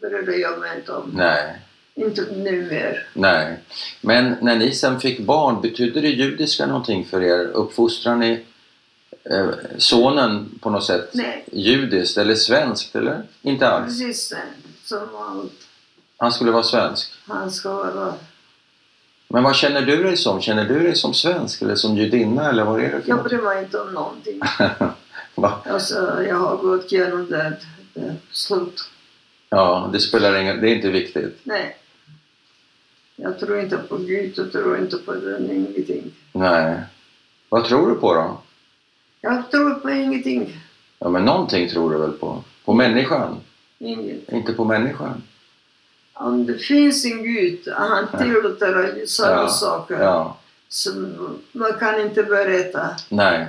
S2: brydde jag mig inte om.
S1: nej,
S2: Inte nu mer.
S1: nej. Men när ni sen fick barn, betydde det judiska någonting för er? Uppfostrar ni eh, sonen på något sätt
S2: Nej,
S1: judiskt eller svenskt eller? Inte alls.
S2: precis det. Som allt.
S1: Han skulle vara svensk.
S2: Han ska vara...
S1: Men vad känner du dig som? Känner du dig som svensk eller som judinna eller vad är det för
S2: Jag
S1: något?
S2: bryr mig inte om någonting.
S1: Va?
S2: Alltså, jag har gått igenom det. det slut.
S1: Ja, det spelar ingen det är inte viktigt.
S2: Nej. Jag tror inte på Gud, jag tror inte på den, ingenting.
S1: Nej. Vad tror du på då?
S2: Jag tror på ingenting.
S1: Ja, men någonting tror du väl på? På människan?
S2: Inget.
S1: Inte på människan?
S2: Om det finns en Gud, han tillåter sådana
S1: Ja,
S2: saker
S1: Ja.
S2: som man kan inte berätta.
S1: Nej.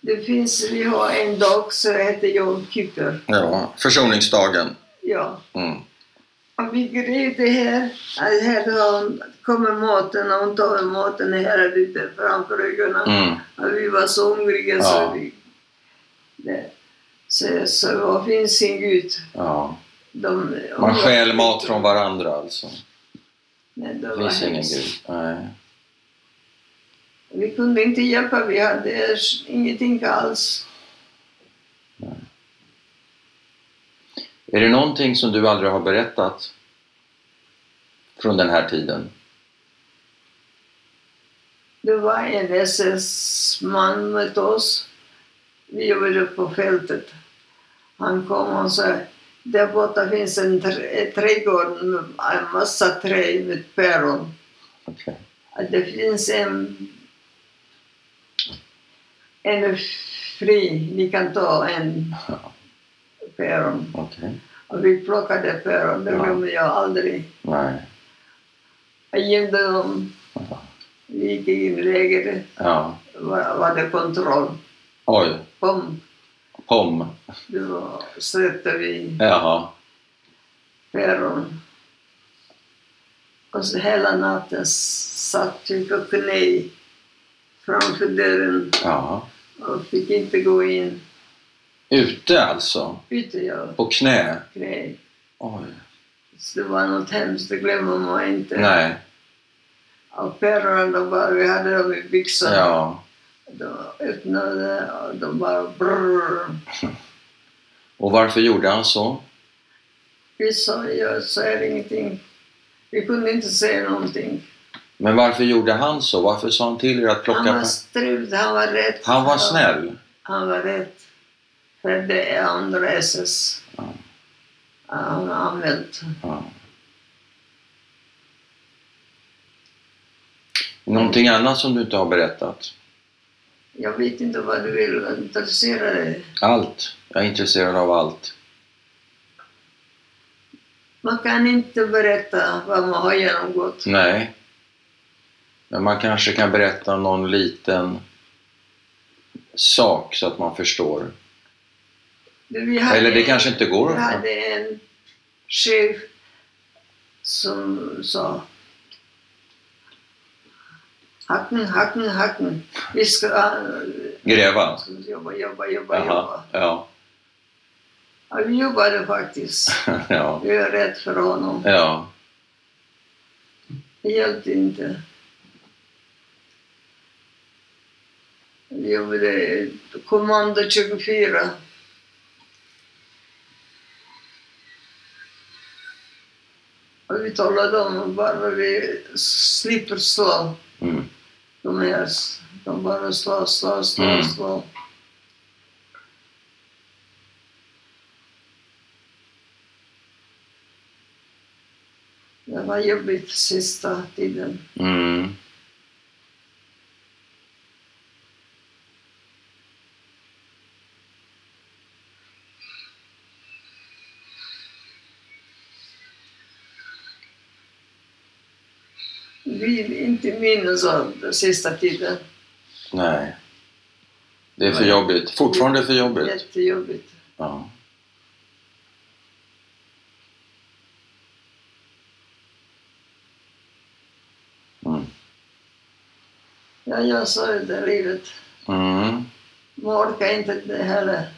S2: Det finns, vi har en dag som heter Jom Kippur.
S1: Ja, försoningsdagen.
S2: Ja.
S1: Mm.
S2: Om vi går ut det här, att här har hon- kommer maten och hon tar maten här lite framför ögonen.
S1: Mm.
S2: Ja, vi var så hungriga
S1: Ja.
S2: så vi... Nej. Så jag sa, vad finns sin Gud?
S1: Ja.
S2: De,
S1: Man stjäl mat från varandra alltså.
S2: Nej,
S1: Det
S2: de var
S1: finns ingen
S2: hemskt.
S1: gud. Nej.
S2: Vi kunde inte hjälpa, vi hade ingenting alls.
S1: Är det någonting som du aldrig har berättat från den här tiden?
S2: Det var en SS-man med oss. Vi jobbade på fältet. Han kom och sa, där borta finns en tr- eh, trädgård med en massa träd med päron.
S1: Okej.
S2: att det finns en en fri, ni kan ta en päron.
S1: Okej.
S2: Och vi plockade päron, det
S1: Ja.
S2: glömmer jag aldrig.
S1: Nej.
S2: Jag gömde dem.
S1: Ja.
S2: Vi gick in i lägret,
S1: Ja.
S2: var, var det kontroll.
S1: Oj.
S2: Kom,
S1: Pom.
S2: då släppte vi
S1: Jaha.
S2: päron. Och så hela natten satt vi på knä framför dörren
S1: Ja.
S2: och fick inte gå in.
S1: Ute alltså?
S2: Ute jag
S1: På knä?
S2: knä.
S1: Oj.
S2: Så det var något hemskt, det glömmer man inte.
S1: Nej.
S2: Och päronen, de bara, vi hade dem i byxorna.
S1: Ja.
S2: De öppnade och de bara brrr.
S1: Och varför gjorde han så?
S2: Vi sa, jag säger ingenting. Vi kunde inte säga någonting.
S1: Men varför gjorde han så? Varför sa han till er att plocka...
S2: Han var strut, han var rätt.
S1: han var snäll?
S2: Han var rätt. För det är andra SS.
S1: Ja.
S2: Han har använt.
S1: Ja. Någonting annat som du inte har berättat?
S2: Jag vet inte vad du vill intressera dig.
S1: Allt. Jag är intresserad av allt.
S2: Man kan inte berätta vad man har genomgått.
S1: Nej. Men man kanske kan berätta någon liten sak så att man förstår.
S2: Vi hade-
S1: Eller det kanske inte går
S2: Jag
S1: att...
S2: hade en chef som sa Hacken, hacken, hacken. Vi ska äh,
S1: Gräva?
S2: jobba, jobba, jobba,
S1: Jaha.
S2: jobba.
S1: Ja.
S2: Ja, vi jobbade faktiskt.
S1: ja.
S2: Vi var rädd för honom.
S1: Ja.
S2: Det hjälpte inte. Vi jobbade i kommando 24. Och vi talar om bara vi slipper slå.
S1: Mm.
S2: De är, de bara slår, slår, slår,
S1: Mm.
S2: slår. Det var jobbigt sista tiden.
S1: Mm.
S2: Vi inte minns av den sista tiden.
S1: Nej. Det är för
S2: Nej.
S1: jobbigt. Fortfarande för jobbigt.
S2: Jättejobbigt.
S1: Ja. Mm.
S2: Ja, jag sa ju det livet.
S1: Mm.
S2: Man orkar inte det heller.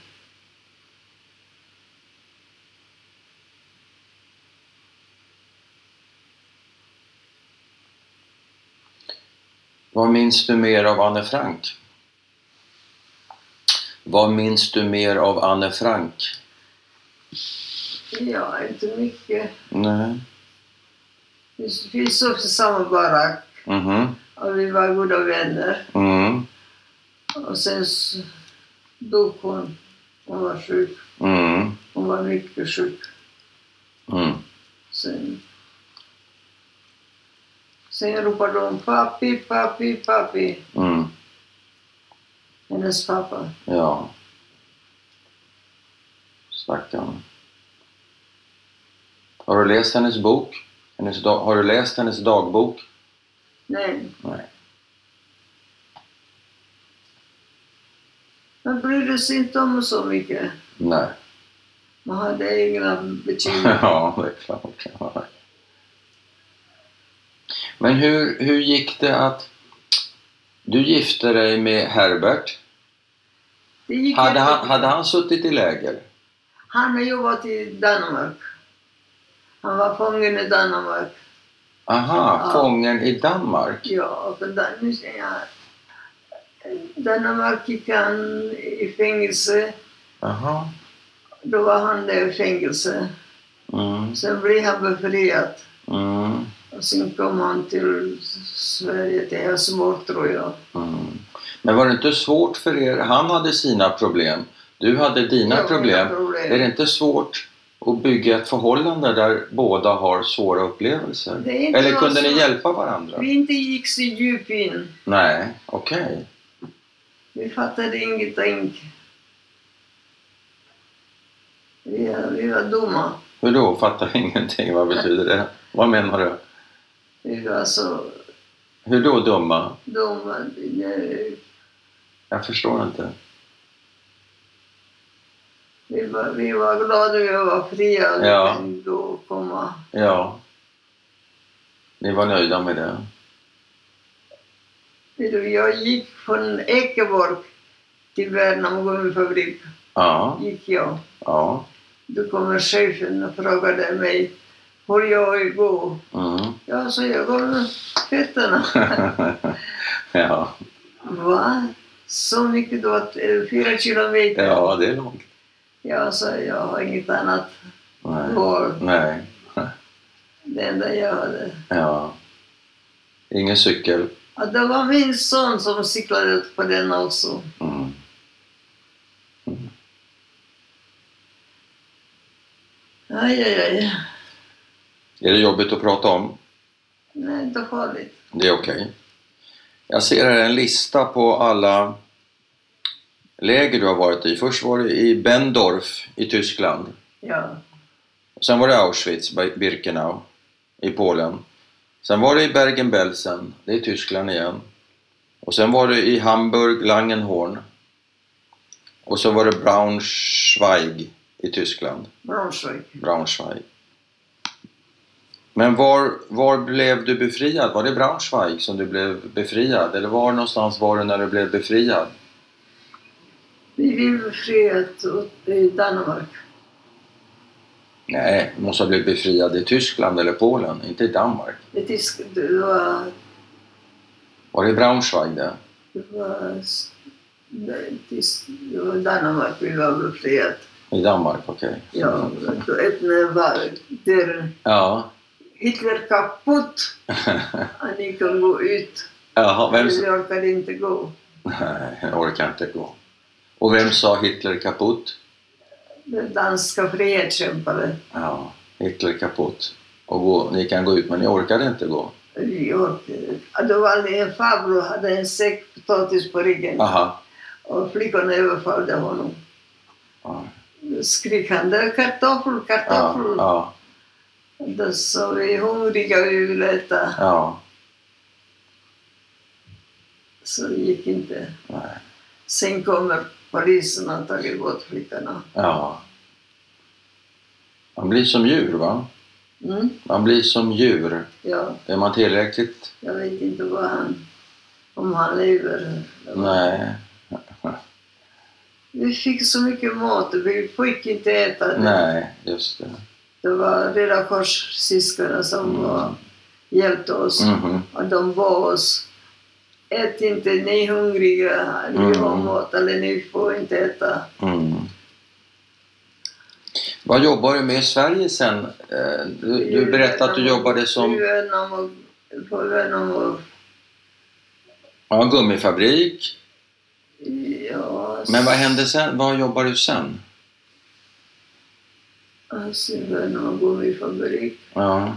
S1: Vad minns du mer av Anne Frank? Vad minns du mer av Anne Frank?
S2: Ja, inte mycket.
S1: Nej.
S2: Vi vi sov i samma barack
S1: Mhm.
S2: och vi var goda vänner.
S1: Mm.
S2: Och sen s- dog hon. Hon var sjuk.
S1: Mm.
S2: Hon var mycket sjuk.
S1: Mm.
S2: Sen, sen ropade hon pappi, pappi, pappi.
S1: Mm.
S2: Hennes pappa.
S1: Ja. Stackarn. Har du läst hennes bok? Hennes da- har du läst hennes dagbok?
S2: Nej,
S1: Nej.
S2: man brydde sig inte om så mycket.
S1: Nej.
S2: Man hade egna bekymmer.
S1: ja, det är klart. Ja. Men hur, hur gick det att... Du gifte dig med Herbert.
S2: Det gick
S1: Hade
S2: jättebra.
S1: han, hade han suttit i läger?
S2: Han har jobbat i Danmark. Han var fången i Danmark.
S1: Aha,
S2: Ja.
S1: fången i Danmark.
S2: Ja, för Dan- nu säger jag. Danmark gick han i fängelse.
S1: Aha.
S2: Då var han där i fängelse.
S1: Mm,
S2: Sen blev han befriad.
S1: mm,
S2: Och sen kom han till Sverige, till Helsingborg tror jag.
S1: mm. Men var det inte svårt för er? Han hade sina problem. Du hade dina
S2: Ja,
S1: problem.
S2: mina problem.
S1: Är det inte svårt att bygga ett förhållande där båda har svåra upplevelser?
S2: Det är inte
S1: Eller kunde
S2: så-
S1: ni hjälpa varandra?
S2: Vi inte gick så djupt in.
S1: Nej, okej.
S2: Vi fattade ingenting. Vi, vi var dumma.
S1: Hur då? Fattar ingenting. Vad betyder det? Vad menar du?
S2: Vi var så
S1: Hur då dumma?
S2: dumma. eh,
S1: Jag förstår inte.
S2: Vi var, vi var glada vi var fria. Vi
S1: Ja.
S2: kunde Då komma.
S1: Ja. Ni var nöjda med det?
S2: Vet du, Jag gick från Ekeborg till Värnamo gummifabrik.
S1: Ja.
S2: Gick jag.
S1: Ja.
S2: Då kommer chefen och frågade mig hur jag går.
S1: Mm.
S2: Jag sa jag går med fötterna.
S1: ja.
S2: Va? Så mycket då? Att, eh, fyra kilometer?
S1: ja, det är långt.
S2: Jag sa jag har inget annat
S1: Nej.
S2: val.
S1: Nej.
S2: Det enda jag hade.
S1: Ja. Ingen cykel.
S2: Ja, det var min son som cyklade på den också.
S1: Mm.
S2: Aj, aj, aj.
S1: Är det jobbigt att prata om?
S2: Nej, inte farligt.
S1: Det är okej. Jag ser här en lista på alla läger du har varit i. Först var du i Bendorf i Tyskland.
S2: Ja.
S1: Sen var det Auschwitz, Bir- Birkenau i Polen. Sen var det i Bergen-Belsen, det är Tyskland igen. Och sen var det i Hamburg, Langenhorn. Och så var det Braunschweig i Tyskland.
S2: Brunswick.
S1: Braunschweig. Men var, var blev du befriad? Var det Braunschweig som du blev befriad? Eller var någonstans var du när du blev befriad?
S2: Vi blev befriade i Danmark.
S1: Nej, du måste ha blivit befriad i Tyskland eller Polen, inte i Danmark.
S2: Det, tysk, det, var,
S1: Var det Braunschweig det?
S2: det, var, s- det, tysk, det var Danmark vi var befriade.
S1: I Danmark, okej.
S2: Ja, då öppnade var dörren
S1: Ja,
S2: Hitler kaputt. Han gick och gå ut.
S1: Jaha, vem...
S2: Men jag orkade inte gå.
S1: Nej, jag orkar inte gå. Och vem sa Hitler kaputt?
S2: Den danska frihetskämpare.
S1: Ja, Hitler kaputt. Och gå, ni kan gå ut, men ni orkade inte gå.
S2: Vi orkade. Då var det en farbror hade en säck potatis på ryggen.
S1: Aha.
S2: Och flickorna överfallde honom.
S1: Ja,
S2: Skrek han där, kartoffel,
S1: ja,
S2: kartoffel.
S1: ja.
S2: Då sa vi hungriga, vi vill äta.
S1: ja.
S2: Så det gick inte.
S1: Nej.
S2: Sen kommer polisen och har tagit bort flickorna.
S1: ja. Man blir som djur, va?
S2: Mm?
S1: Man blir som djur.
S2: Ja,
S1: Är man tillräckligt...
S2: jag vet inte vad han, om han lever.
S1: Nej.
S2: Vi fick så mycket mat, vi fick inte äta. det.
S1: Nej, just det.
S2: Det var Röda Kors-syskonen som
S1: Mm.
S2: var, hjälpte oss.
S1: Mhm.
S2: Och de bad oss. Ät inte, ni är hungriga, ni har
S1: Mm.
S2: mat eller ni får inte äta.
S1: Mm. Vad jobbar du med i Sverige sen? Eh, Du, du berättade att du jobbade
S2: På
S1: som
S2: Värnamo, på Värnamo,
S1: ja, gummifabrik.
S2: ja.
S1: Men vad hände sen? Vad jobbar du sen?
S2: Alltså Värnamo gummifabrik.
S1: Ja,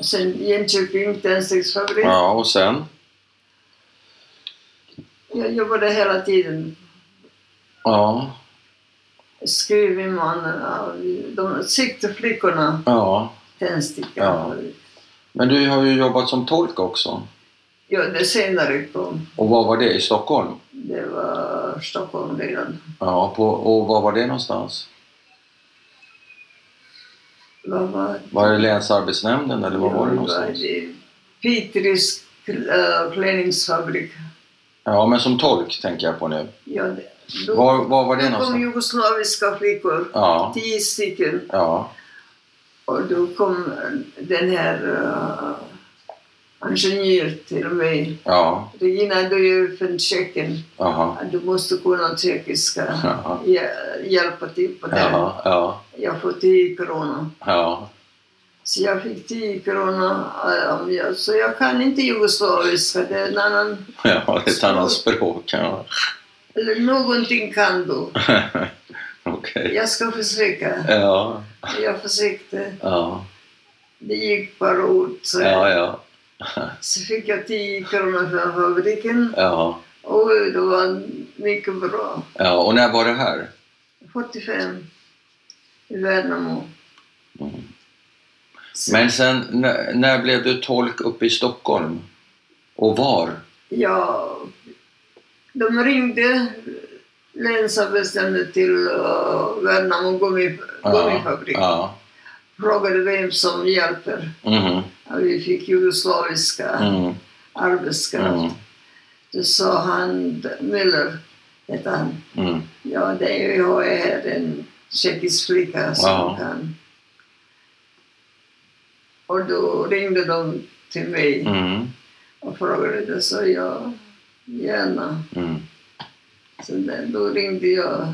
S2: Sen Jönköping tändsticksfabrik.
S1: ja och sen?
S2: Jag jobbade hela tiden.
S1: Ja,
S2: Skrev man, ja, de siktade flickorna
S1: ja.
S2: tändsticka.
S1: Ja. Men du har ju jobbat som tolk också.
S2: ja, det senare kom.
S1: Och vad var det? I Stockholm?
S2: Det var Stockholm redan.
S1: Ja, på, och var var det någonstans?
S2: Vad var
S1: Var det Länsarbetsnämnden eller var var det någonstans?
S2: det? Pitris eh, klänningsfabrik.
S1: Ja, men som tolk tänker jag på nu.
S2: Ja, det- då,
S1: Var var, var det
S2: då kom
S1: någonstans?
S2: jugoslaviska flickor,
S1: Ja,
S2: tio stycken.
S1: ja,
S2: Och då kom den här uh, ingenjör till mig.
S1: ja,
S2: Regina, du är från Tjeckien.
S1: jaha,
S2: Du måste kunna tjeckiska.
S1: jaha,
S2: Ja, hjälpa till på det.
S1: jaha, ja,
S2: Jag får 10 kronor.
S1: ja.
S2: Så jag fick 10 kronor. eh, om jag- Så jag kan inte jugoslaviska. Det är en annan...
S1: Ja, det är ett annat språk. Ja.
S2: Eller någonting kan du.
S1: Okej.
S2: Jag ska försöka.
S1: Ja,
S2: Jag försökte.
S1: ja,
S2: Det gick bara ord. Så,
S1: ja, ja,
S2: så fick jag 10 kronor från fabriken.
S1: ja,
S2: Och det var mycket bra.
S1: ja. Och när var det här?
S2: 45 i Värnamo.
S1: Mm.
S2: Så,
S1: Men sen, när, när blev du tolk uppe i Stockholm? Och var?
S2: Ja, de ringde länsarbetsnämnden till eh, Värnamo gummi, gummifabrik.
S1: Ja.
S2: Frågade vem som hjälper.
S1: Mhm.
S2: Ja, Vi fick jugoslaviska
S1: Mm.
S2: arbetskraft.
S1: Mm.
S2: Då sa han, Müller hette han.
S1: Mm.
S2: Ja, det är ju jag är här, en tjeckisk flicka som
S1: Ja.
S2: kan. Och då ringde de till mig
S1: Mm.
S2: och frågade, då sa jag gärna.
S1: Mm.
S2: Så där, då ringde jag.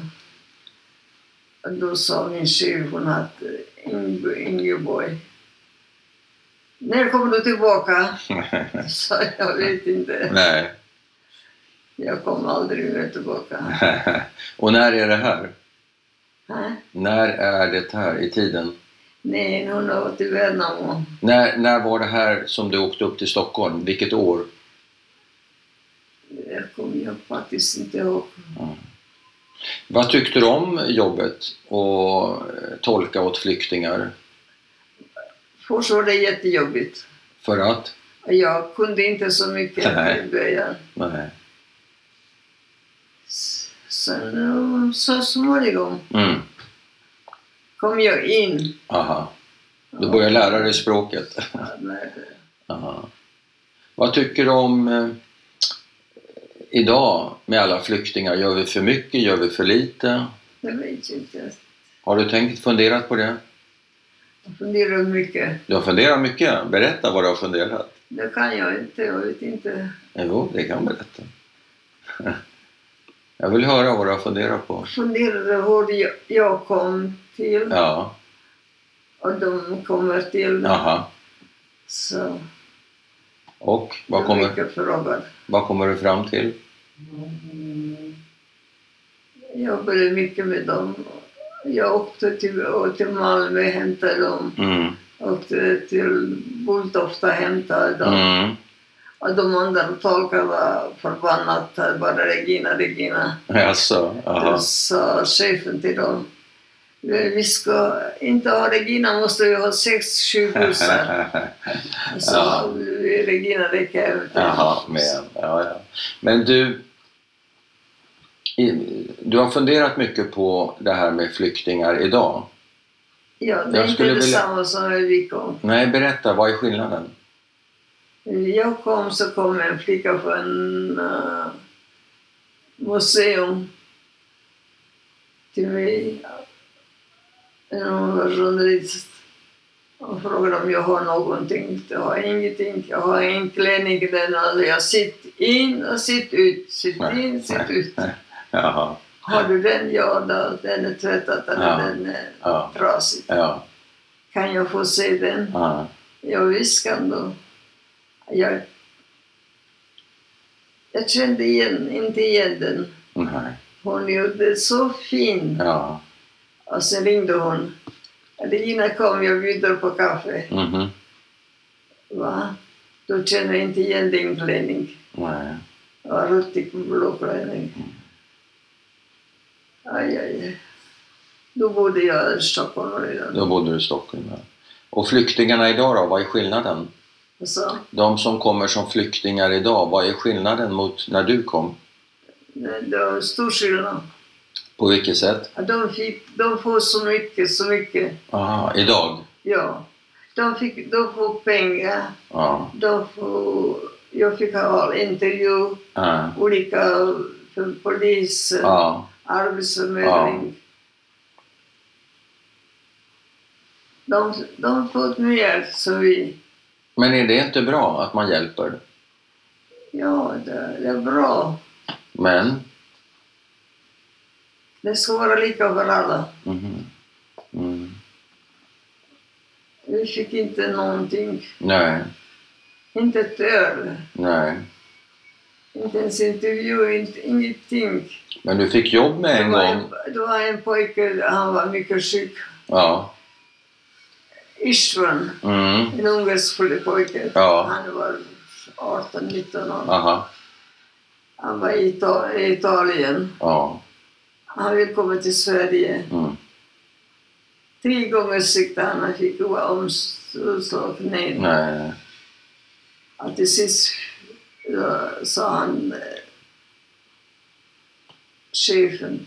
S2: Och då sa min chef, hon hette Inge- Ingeborg. När kommer du tillbaka? sa jag, jag vet inte.
S1: Nej.
S2: Jag kommer aldrig mer tillbaka.
S1: Och när är det här?
S2: Hä?
S1: När är det här i tiden?
S2: Nej, hon har varit i Värnamo.
S1: När, när var det här som du åkte upp till Stockholm? Vilket år?
S2: Det kommer jag faktiskt inte ihåg.
S1: Vad tyckte du om jobbet? Och eh, tolka åt flyktingar?
S2: Först var det jättejobbigt.
S1: För att?
S2: Jag kunde inte så mycket
S1: Nej.
S2: i början.
S1: Nej.
S2: S- Sen eh, så småningom
S1: Mm.
S2: kom jag in.
S1: Aha. Du börjar lära dig språket.
S2: Ja, nej, det-
S1: Aha. Vad tycker du om eh, idag med alla flyktingar? Gör vi för mycket? Gör vi för lite?
S2: Det vet jag inte.
S1: Har du tänkt, funderat på det?
S2: Jag funderar mycket.
S1: Du har funderat mycket. Berätta vad du har funderat. Eh,
S2: Det kan jag inte. Jag vet inte.
S1: Jo, det kan jag berätta. Jag vill höra vad du har funderat på.
S2: Jag funderade hur jag- jag kom till.
S1: Ja,
S2: och de kommer till.
S1: Aha.
S2: Så
S1: Och
S2: det
S1: vad
S2: är
S1: kommer,
S2: mycket frågor.
S1: vad kommer du fram till?
S2: Jag jobbade mycket med dem. Jag åkte till, och till Malmö och hämtade dem.
S1: Mm.
S2: Åkte till Bulltofta och hämtade dem.
S1: Mm.
S2: Och de andra tolkarna var förbannat bara Regina, Regina.
S1: Alltså, aha.
S2: Då sa chefen till dem. Vi ska inte ha Regina, måste vi ha sex, sju bussar.
S1: Ja.
S2: Så Regina räcker ut.
S1: Jaha, men, ja, ja. men du, i- du har funderat mycket på det här med flyktingar idag.
S2: Ja, det
S1: Jag
S2: är inte
S1: skulle vilja-
S2: detsamma som när vi kom.
S1: Nej, berätta, vad är skillnaden?
S2: När jag kom så kom en flicka från eh, museum till mig. Eh, Hon var journalist. Hon frågade om jag har någonting. Jag har ingenting. Jag har en klänning. Den hade jag sitt in och sitt ut. Sitt
S1: Nej,
S2: in, sitt
S1: nej,
S2: ut.
S1: nej. Jaha,
S2: Har du den? Ja, då, den är tvättad eller
S1: Ja.
S2: den är
S1: ja,
S2: trasig.
S1: ja,
S2: Kan jag få se den?
S1: ja.
S2: Ja, visst kan du. Jag, jag kände igen, inte igen den.
S1: Nej,
S2: Hon gjorde det så fint.
S1: ja,
S2: Och sen ringde hon. Regina kom, jag bjuder på kaffe.
S1: mhm,
S2: Va? Då känner jag inte igen din klänning.
S1: nej.
S2: Det var ruttig blå klänning. Aj, aj, aj. Då bodde jag i Stockholm redan.
S1: Då bodde du i Stockholm. Ja. Och flyktingarna idag då, vad är skillnaden?
S2: Och Så,
S1: De som kommer som flyktingar idag, vad är skillnaden mot när du kom?
S2: det var en stor skillnad.
S1: På vilket sätt?
S2: De, fick, de får så mycket, så mycket.
S1: Aha, idag?
S2: Ja, de fick, de får pengar,
S1: Ja,
S2: de får, jag fick ha intervju,
S1: ja,
S2: olika för polis,
S1: ja,
S2: arbetsförmedling. De, de får mer som vi.
S1: Men är det inte bra att man hjälper?
S2: Ja, det, det är bra.
S1: Men?
S2: Det ska vara lika för alla.
S1: Mhm. Mm.
S2: Vi fick inte någonting,
S1: Nej,
S2: inte ett öre,
S1: nej.
S2: inte ens intervju, inte, ingenting.
S1: Men du fick jobb med
S2: Det
S1: en
S2: var
S1: gång?
S2: en, det var en pojke, han var mycket sjuk.
S1: Ja.
S2: Ishvan,
S1: Mm.
S2: en ungersk pojke.
S1: Ja.
S2: Han var 18-19 år.
S1: Aha.
S2: Han var i Ita- i Italien.
S1: Ja.
S2: Han ville komma till Sverige.
S1: Mm.
S2: Tre gånger siktade han och fick omslagning.
S1: Nej.
S2: Och till sist ja, sa han, eh, chefen,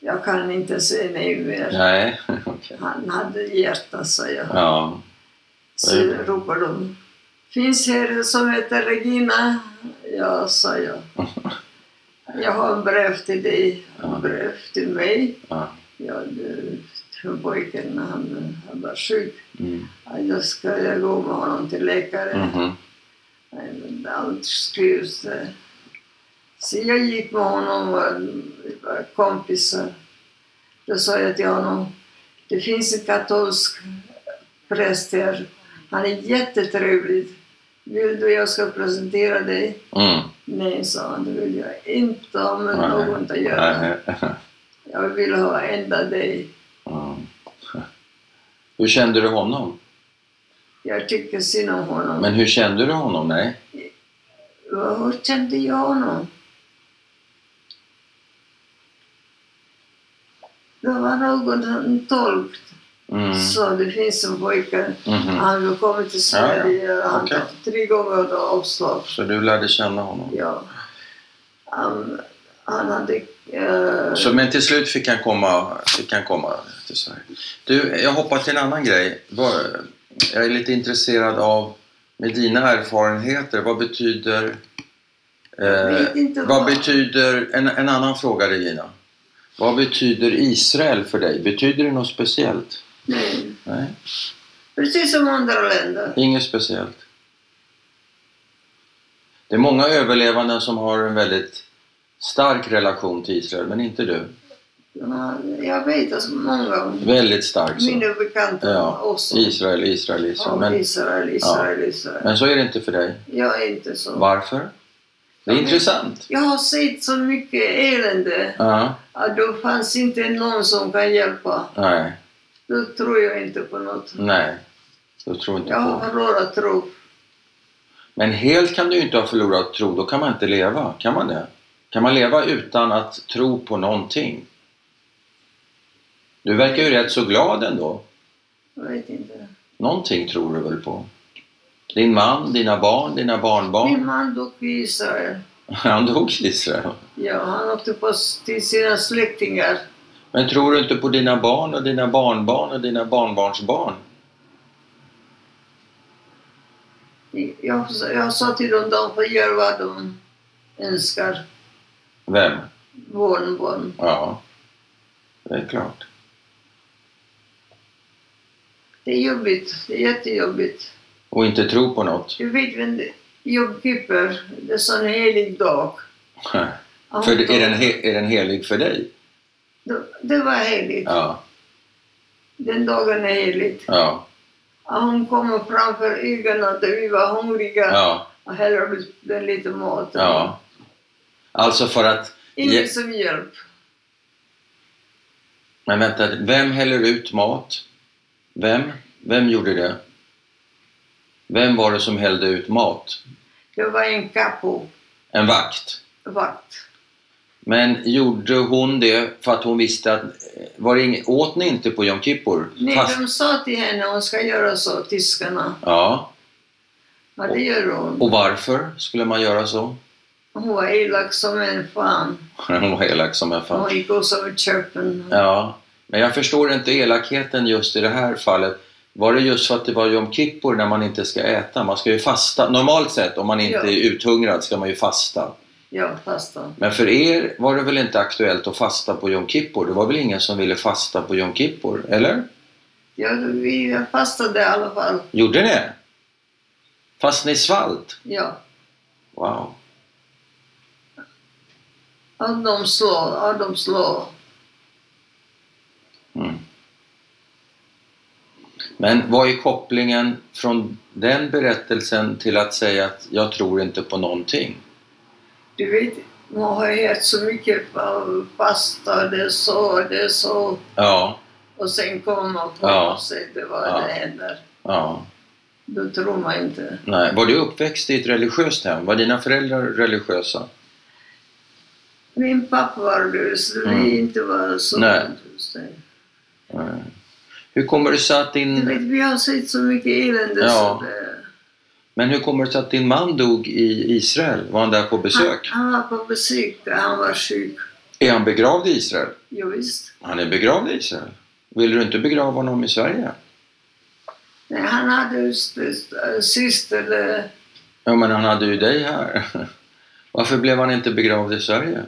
S2: jag kan inte säga nej mer.
S1: Nej. Okej.
S2: Han hade hjärta, sa jag.
S1: Ja.
S2: Så ropade de. Finns här som heter Regina? Ja, sa jag. Jag har en brev till dig.
S1: Ja.
S2: En brev till mig.
S1: ja.
S2: Ja, det- för pojken, han, han var sjuk.
S1: Mm.
S2: Ja, Då ska jag gå med honom till läkare.
S1: Mhm.
S2: Nej, men Allt skrevs där. Så jag gick med honom och vi var kompisar. Då sa jag till honom, det finns en katolsk präst här. Han är jättetrevlig. Vill du jag ska presentera dig?
S1: Mm.
S2: Nej, sa han, det vill jag inte ha med
S1: Nej.
S2: något att göra.
S1: Nej.
S2: Jag vill ha enda dig.
S1: Mm. Hur kände du honom?
S2: Jag tycker synd om honom.
S1: Men hur kände du honom? Nej.
S2: Hur kände jag honom? Det var någon han tolk
S1: Mm.
S2: så det finns en pojke.
S1: Mhm.
S2: Han har kommit till Sverige. Han
S1: Okej.
S2: tog tre gånger då avslag.
S1: Så du lärde känna honom?
S2: Ja. Han, han hade... eh,
S1: Så, men till slut fick han komma, fick han komma till Sverige. Du, jag hoppar till en annan grej. Vad- Jag är lite intresserad av, med dina erfarenheter, vad betyder...
S2: jag vet inte
S1: eh, Vad betyder, en, en annan fråga Regina. Vad betyder Israel för dig? Betyder det något speciellt?
S2: Nej.
S1: Nej,
S2: Precis som andra länder.
S1: inget speciellt. Det är många överlevanden som har en väldigt stark relation till Israel, men inte du.
S2: Ja, Jag vet att många
S1: Väldigt stark så.
S2: mina bekanta
S1: Ja,
S2: också.
S1: Israel, Israel, Israel.
S2: Ja,
S1: Men,
S2: Israel, Israel, Israel.
S1: men så är det inte för dig.
S2: Jag är inte så.
S1: Varför? Det är
S2: Ja, men-
S1: intressant.
S2: Jag har sett så mycket elände
S1: Ja,
S2: att då fanns inte någon som kan hjälpa.
S1: nej,
S2: Då tror jag inte på något.
S1: nej. Då tror inte
S2: Jag
S1: på.
S2: har bara tro.
S1: Men helt kan du ju inte ha förlorat tro. Då kan man inte leva. Kan man det? Kan man leva utan att tro på någonting? Du verkar ju rätt så glad ändå.
S2: Jag vet inte.
S1: Någonting tror du väl på? Din man, dina barn, dina
S2: Min
S1: barnbarn?
S2: man dog i Israel.
S1: Han dog i Israel.
S2: Ja, han åkte på till sina släktingar.
S1: Men tror du inte på dina barn och dina barnbarn och dina barnbarnsbarn?
S2: Jag, jag sa till dem, de får göra vad de önskar.
S1: Vem?
S2: Barnbarn.
S1: Ja, det är klart.
S2: Det är jobbigt. Det är jättejobbigt.
S1: Och inte tro på något.
S2: Du vet vem det- Jobb Kipper, det är sån helig dag. Han
S1: För är
S2: dog.
S1: den, he- är den helig för dig?
S2: Det- Det var heligt.
S1: Ja,
S2: Den dagen är heligt.
S1: ja,
S2: Och hon kommer framför ögonen att vi var hungriga
S1: ja,
S2: och häller ut den lite mat.
S1: ja. Alltså för att...
S2: Ingen
S1: Ja.
S2: som hjälp.
S1: Men vänta, vem häller ut mat? Vem? Vem gjorde det? Vem var det som hällde ut mat?
S2: Det var en kapo-vakt.
S1: En vakt? Men gjorde hon det för att hon visste att... eh, Var det ing, åt ni inte på Yom Kippur?
S2: Nej,
S1: Fast-
S2: de sa till henne hon ska göra så, tyskarna.
S1: Ja.
S2: Ja, det gör hon.
S1: Och varför skulle man göra så?
S2: Hon var elak som en fan.
S1: Hon var elak som en fan.
S2: Hon gick oss över köpen.
S1: Ja. Men jag förstår inte elakheten just i det här fallet. Var det just för att det var Yom Kippur när man inte ska äta? Man ska ju fasta. Normalt sett om man inte
S2: Ja.
S1: är uthungrad ska man ju fasta.
S2: Ja, fast då.
S1: Men för er var det väl inte aktuellt att fasta på Yom Kippur? Det var väl ingen som ville fasta på Yom Kippur? Eller?
S2: Ja, vi fastade i alla fall.
S1: Gjorde ni? Fast ni svalt?
S2: Ja.
S1: Wow.
S2: Att de slår, att de slår.
S1: Mm. Men vad är kopplingen från den berättelsen till att säga att jag tror inte på någonting?
S2: Du vet, man har ju hört så mycket av fasta, det är så, det är så.
S1: Ja,
S2: Och sen kommer man på
S1: Ja.
S2: sig, det var
S1: Ja.
S2: det händer.
S1: ja.
S2: Då tror man inte.
S1: Nej. Var du uppväxt i ett religiöst hem? Var dina föräldrar religiösa?
S2: Min pappa var lös,
S1: Mm.
S2: vi inte var så
S1: Nej.
S2: lös.
S1: Nej. Eh, Hur kommer det sig att
S2: Du vet,
S1: din...
S2: vi har sett så mycket elände.
S1: Ja.
S2: Så det,
S1: Men hur kommer det sig att din man dog i Israel? Var han där på besök?
S2: Han, han var på besök där han var sjuk.
S1: Är han begravd i Israel?
S2: Jo, visst.
S1: Han är begravd i Israel. Vill du inte begrava honom i Sverige?
S2: Nej, han hade just, just, en syster, det-
S1: Ja, men han hade ju dig här. Varför blev han inte begravd i Sverige?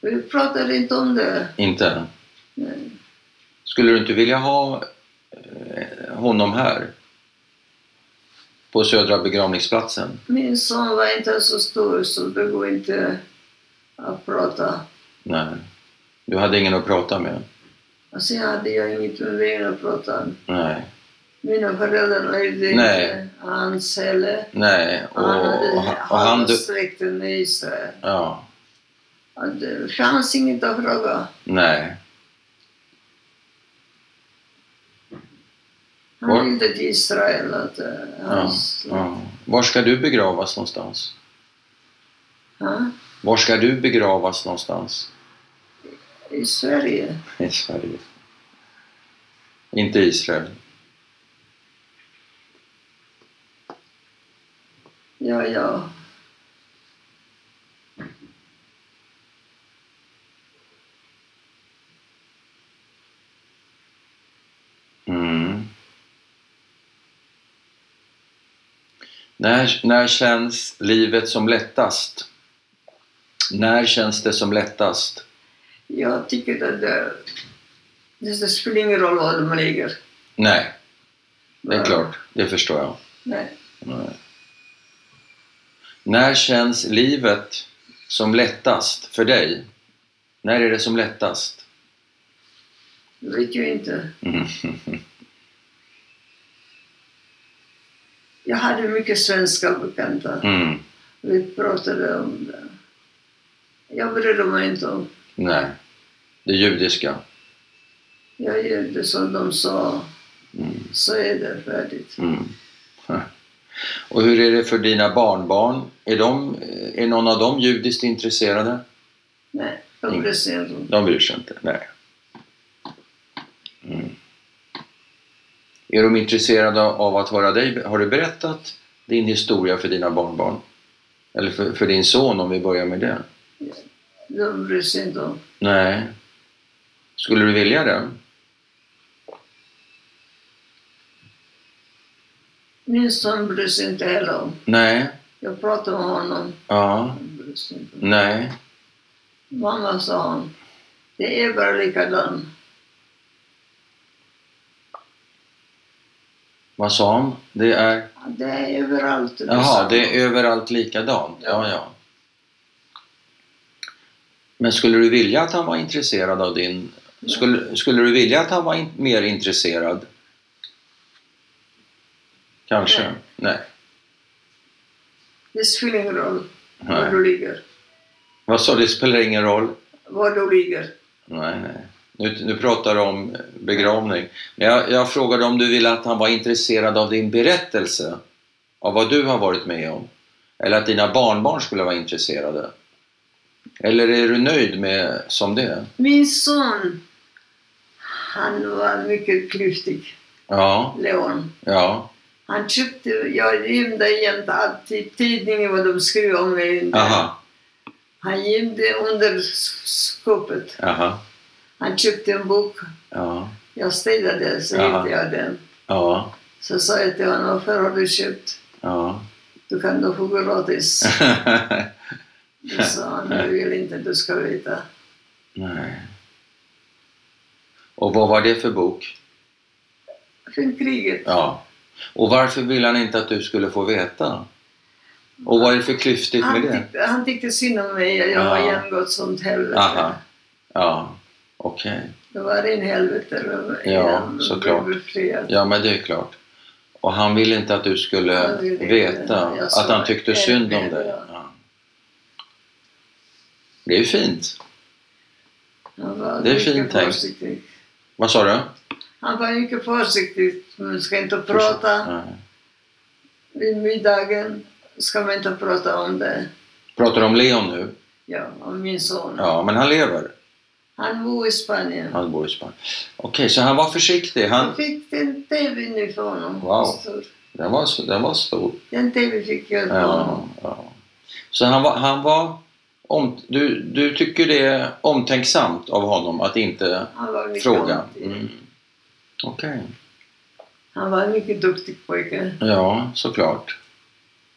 S2: vi pratade inte om det.
S1: Inte?
S2: Nej.
S1: Skulle du inte vilja ha eh, honom här? På Södra begravningsplatsen?
S2: Min son var inte så stor så det går inte att prata.
S1: Nej. Du hade ingen att prata med?
S2: Och sen hade Alltså, jag inget med vänner att prata om.
S1: Nej.
S2: Mina föräldrar höjde
S1: Nej.
S2: inte hans heller.
S1: Nej. Och,
S2: Och han hade
S1: och, och han...
S2: han
S1: du-
S2: släkten i sig.
S1: Ja.
S2: Och Det fanns inget att fråga.
S1: Nej. Var-
S2: Han ville till Israel. Att, eh,
S1: Ja,
S2: hans,
S1: ja. Var ska du begravas någonstans?
S2: Ja,
S1: Var ska du begravas någonstans?
S2: I Sverige.
S1: I Sverige. Inte Israel.
S2: Ja, ja.
S1: Mm. När, när känns livet som lättast? När känns det som lättast?
S2: Jag tycker att det, det, det spelar ingen roll var de ligger.
S1: Nej, det är
S2: Nej.
S1: klart. Det förstår jag.
S2: Nej.
S1: Nej. När känns livet som lättast för dig? När är det som lättast?
S2: Det vet jag inte.
S1: Mm.
S2: Jag hade mycket svenska bekanta.
S1: Mm.
S2: Vi pratade om det. Jag brydde mig inte om.
S1: Nej. Det judiska.
S2: Jag gjorde som de sa,
S1: Mm.
S2: så är det färdigt.
S1: Mm. Och hur är det för dina barnbarn? Är, de, är någon av dem judiskt intresserade?
S2: Nej, jag
S1: Mm.
S2: brydde sig inte om.
S1: De bryr sig inte, nej. Mm. Är de intresserade av att höra dig? Har du berättat din historia för dina barnbarn? Eller för, för din son om vi börjar med det?
S2: De brydde sig inte om.
S1: Nej. Skulle du vilja det?
S2: Min son brydde sig inte heller om.
S1: Nej.
S2: Jag pratade med honom.
S1: Ja.
S2: Han brydde sig inte om.
S1: Nej.
S2: Mamma sa hon, det är bara likadant.
S1: Vad sa han? Det är...
S2: Det är överallt.
S1: Jaha, det är överallt likadant. Ja, ja. Men skulle du vilja att han var intresserad av din... Skulle, skulle du vilja att han var in, mer intresserad? Kanske?
S2: Nej.
S1: Nej.
S2: det spelar ingen roll var
S1: Nej.
S2: du ligger.
S1: Vad sa du? Det spelar ingen roll.
S2: Var du ligger.
S1: Nej, nej. Nu, nu pratar du om begravning. Men Jag, jag frågade om du ville att han var intresserad av din berättelse. Av vad du har varit med om. Eller att dina barnbarn skulle vara intresserade. Eller är du nöjd med som det är?
S2: Min son, han var mycket klyftig,
S1: Ja,
S2: Leon.
S1: ja,
S2: Han köpte, jag gömde jämt alltid tidningen vad de skrev om mig.
S1: aha,
S2: Han gömde under skåpet.
S1: aha,
S2: Han köpte en bok.
S1: ja,
S2: Jag städade, så
S1: Jaha.
S2: hittade jag den.
S1: ja,
S2: Så sa jag till honom, varför har du köpt?
S1: ja.
S2: Du kan då få gratis. Då sa han, jag vill inte du ska veta.
S1: nej. Och vad var det för bok?
S2: Från kriget.
S1: Ja. Och varför ville han inte att du skulle få veta? Och vad är det för klyftigt med
S2: Han
S1: det?
S2: tyckte, han tyckte synd om mig, jag
S1: Ja.
S2: har genomgått sånt helvete.
S1: Aha. Ja, okej.
S2: Det var en helvete. det var-
S1: Ja,
S2: han
S1: såklart.
S2: blev befriad.
S1: Ja, men det är klart. Och han ville inte att du skulle
S2: Han ville inte.
S1: veta
S2: Jag sa
S1: att han tyckte
S2: det.
S1: synd om dig.
S2: Ja.
S1: Ja. Det är ju fint.
S2: Han var
S1: Det är fint
S2: mycket
S1: tänkt.
S2: försiktig.
S1: Vad sa du?
S2: Han var mycket försiktig. Man ska inte prata.
S1: Nej.
S2: Vid middagen ska man inte prata om det.
S1: Pratar du om Leon nu?
S2: Ja, om min son.
S1: Ja, men han lever.
S2: Han bor i Spanien.
S1: Han bor i Spanien. Okej, så han var försiktig. Han,
S2: Jag fick en TV nu för honom.
S1: Wow.
S2: Stor.
S1: den, var, den var stor.
S2: Den TV fick jag för
S1: Ja,
S2: honom.
S1: ja. Så han var... Han var om, du, du tycker det är omtänksamt av honom att inte
S2: Han var mycket,
S1: fråga? Mm. Okej.
S2: han var en mycket duktig pojke.
S1: Ja, såklart.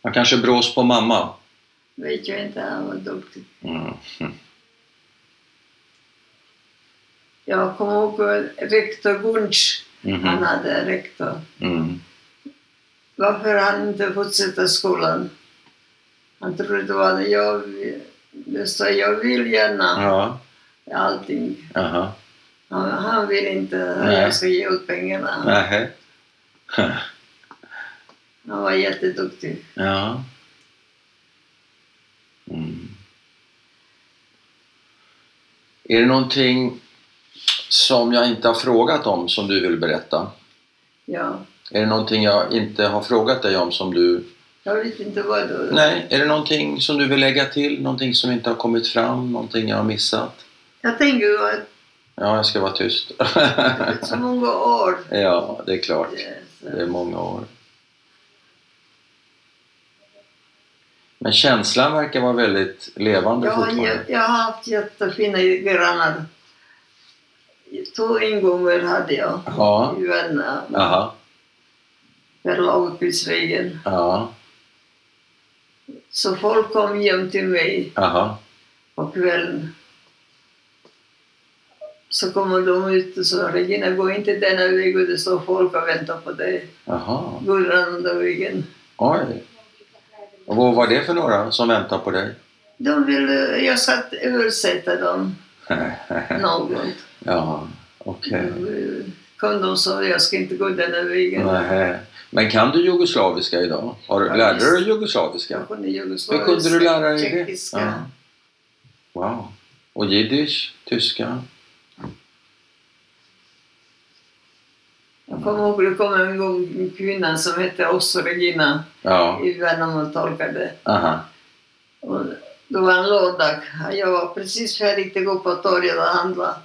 S1: Han kanske brås på mamma.
S2: Vet jag inte, han var duktig.
S1: Mm.
S2: Jag kommer ihåg rektor Gunsch. Han
S1: Mhm.
S2: hade en rektor.
S1: Mm.
S2: Varför han inte fortsätta skolan? Han trodde det var det. Jag, vill- det sa jag vill gärna
S1: Ja,
S2: allting.
S1: aha.
S2: Han, han vill inte att
S1: Nej.
S2: jag ska ge ut pengarna.
S1: Nähä.
S2: Han var jätteduktig.
S1: Ja. Mm. Är det någonting som jag inte har frågat om som du vill berätta?
S2: Ja.
S1: Är det någonting jag inte har frågat dig om som du...
S2: Jag vet inte vad det var.
S1: Nej, är det någonting som du vill lägga till? Någonting som inte har kommit fram? Någonting jag har missat?
S2: Jag tänker att
S1: Ja, jag ska vara tyst.
S2: det är så många år.
S1: ja, det är klart.
S2: eh, så-
S1: Det är många år. Men känslan verkar vara väldigt levande
S2: Jag har,
S1: fortfarande.
S2: jä- jag har haft jättefina grannar. Två ingångar hade jag.
S1: Ja.
S2: I Värna,
S1: Aha.
S2: Per Lagerqvistsvägen.
S1: Ja.
S2: Så folk kom hem till mig
S1: Aha.
S2: på kvällen. Så kommer de ut och sa Regina, gå inte denna vägen, det står folk och väntar på dig.
S1: Aha.
S2: Gå den andra vägen.
S1: Oj. Och vad var det för några som väntar på dig?
S2: De ville, jag satt översätta dem.
S3: någon.
S1: Ja, okej.
S2: Kom de och sa jag ska inte gå den här vägen.
S1: Nähä. Men kan du jugoslaviska idag? Har du,
S2: Ja,
S1: lärde
S2: visst.
S1: du dig jugoslaviska?
S2: Jag kunde
S1: Hur
S2: jugoslaviska,
S1: kunde du lära dig det?
S2: tjeckiska.
S1: Ja. Wow. Och jiddisch, tyska?
S2: Jag kommer ihåg det kom en gång en kvinna som hette Osso Regina
S1: Ja,
S2: i Värnamo och tolkade.
S1: aha.
S2: Och det var en lördag. Jag var precis färdig att gå på torget och handla.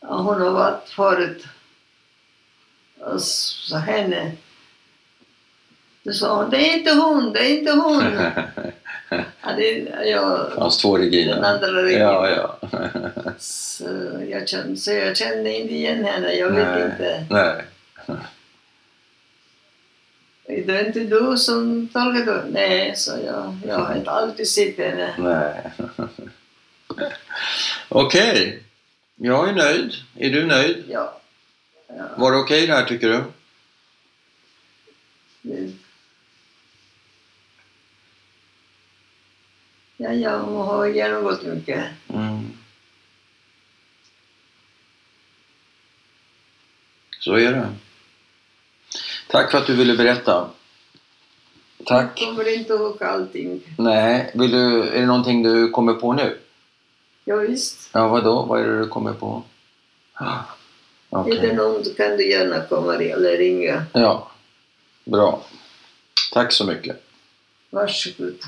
S2: Och hon har varit förut. Och så henne. Då sa hon, det är inte hon, det är inte hon. ja, det, jag,
S1: Fanns två
S2: den
S1: Regina.
S2: andra Regina.
S1: Ja, ja.
S2: Så jag kände, så jag kände inte igen henne. Jag vet
S1: Nej.
S2: inte.
S1: Nej.
S2: Är det inte du som talar då? Nej, så jag. Jag har inte aldrig sett henne.
S1: Nej. Okej. Jag är nöjd. Är du nöjd?
S2: Ja,
S1: Var det okej det här tycker du?
S2: det- ja, jag har genomgått mycket.
S1: Mm. Så är det. Tack för att du ville berätta. Tack.
S2: Jag kommer inte ihåg allting.
S1: Nej, vill du, är det någonting du kommer på nu?
S2: Ja, visst.
S1: Ja, vad då? Vad är det du kommer på? Ah, Okej.
S2: Är det någon du kan du gärna komma eller ringa.
S1: Ja, bra. Tack så mycket.
S2: Varsågod.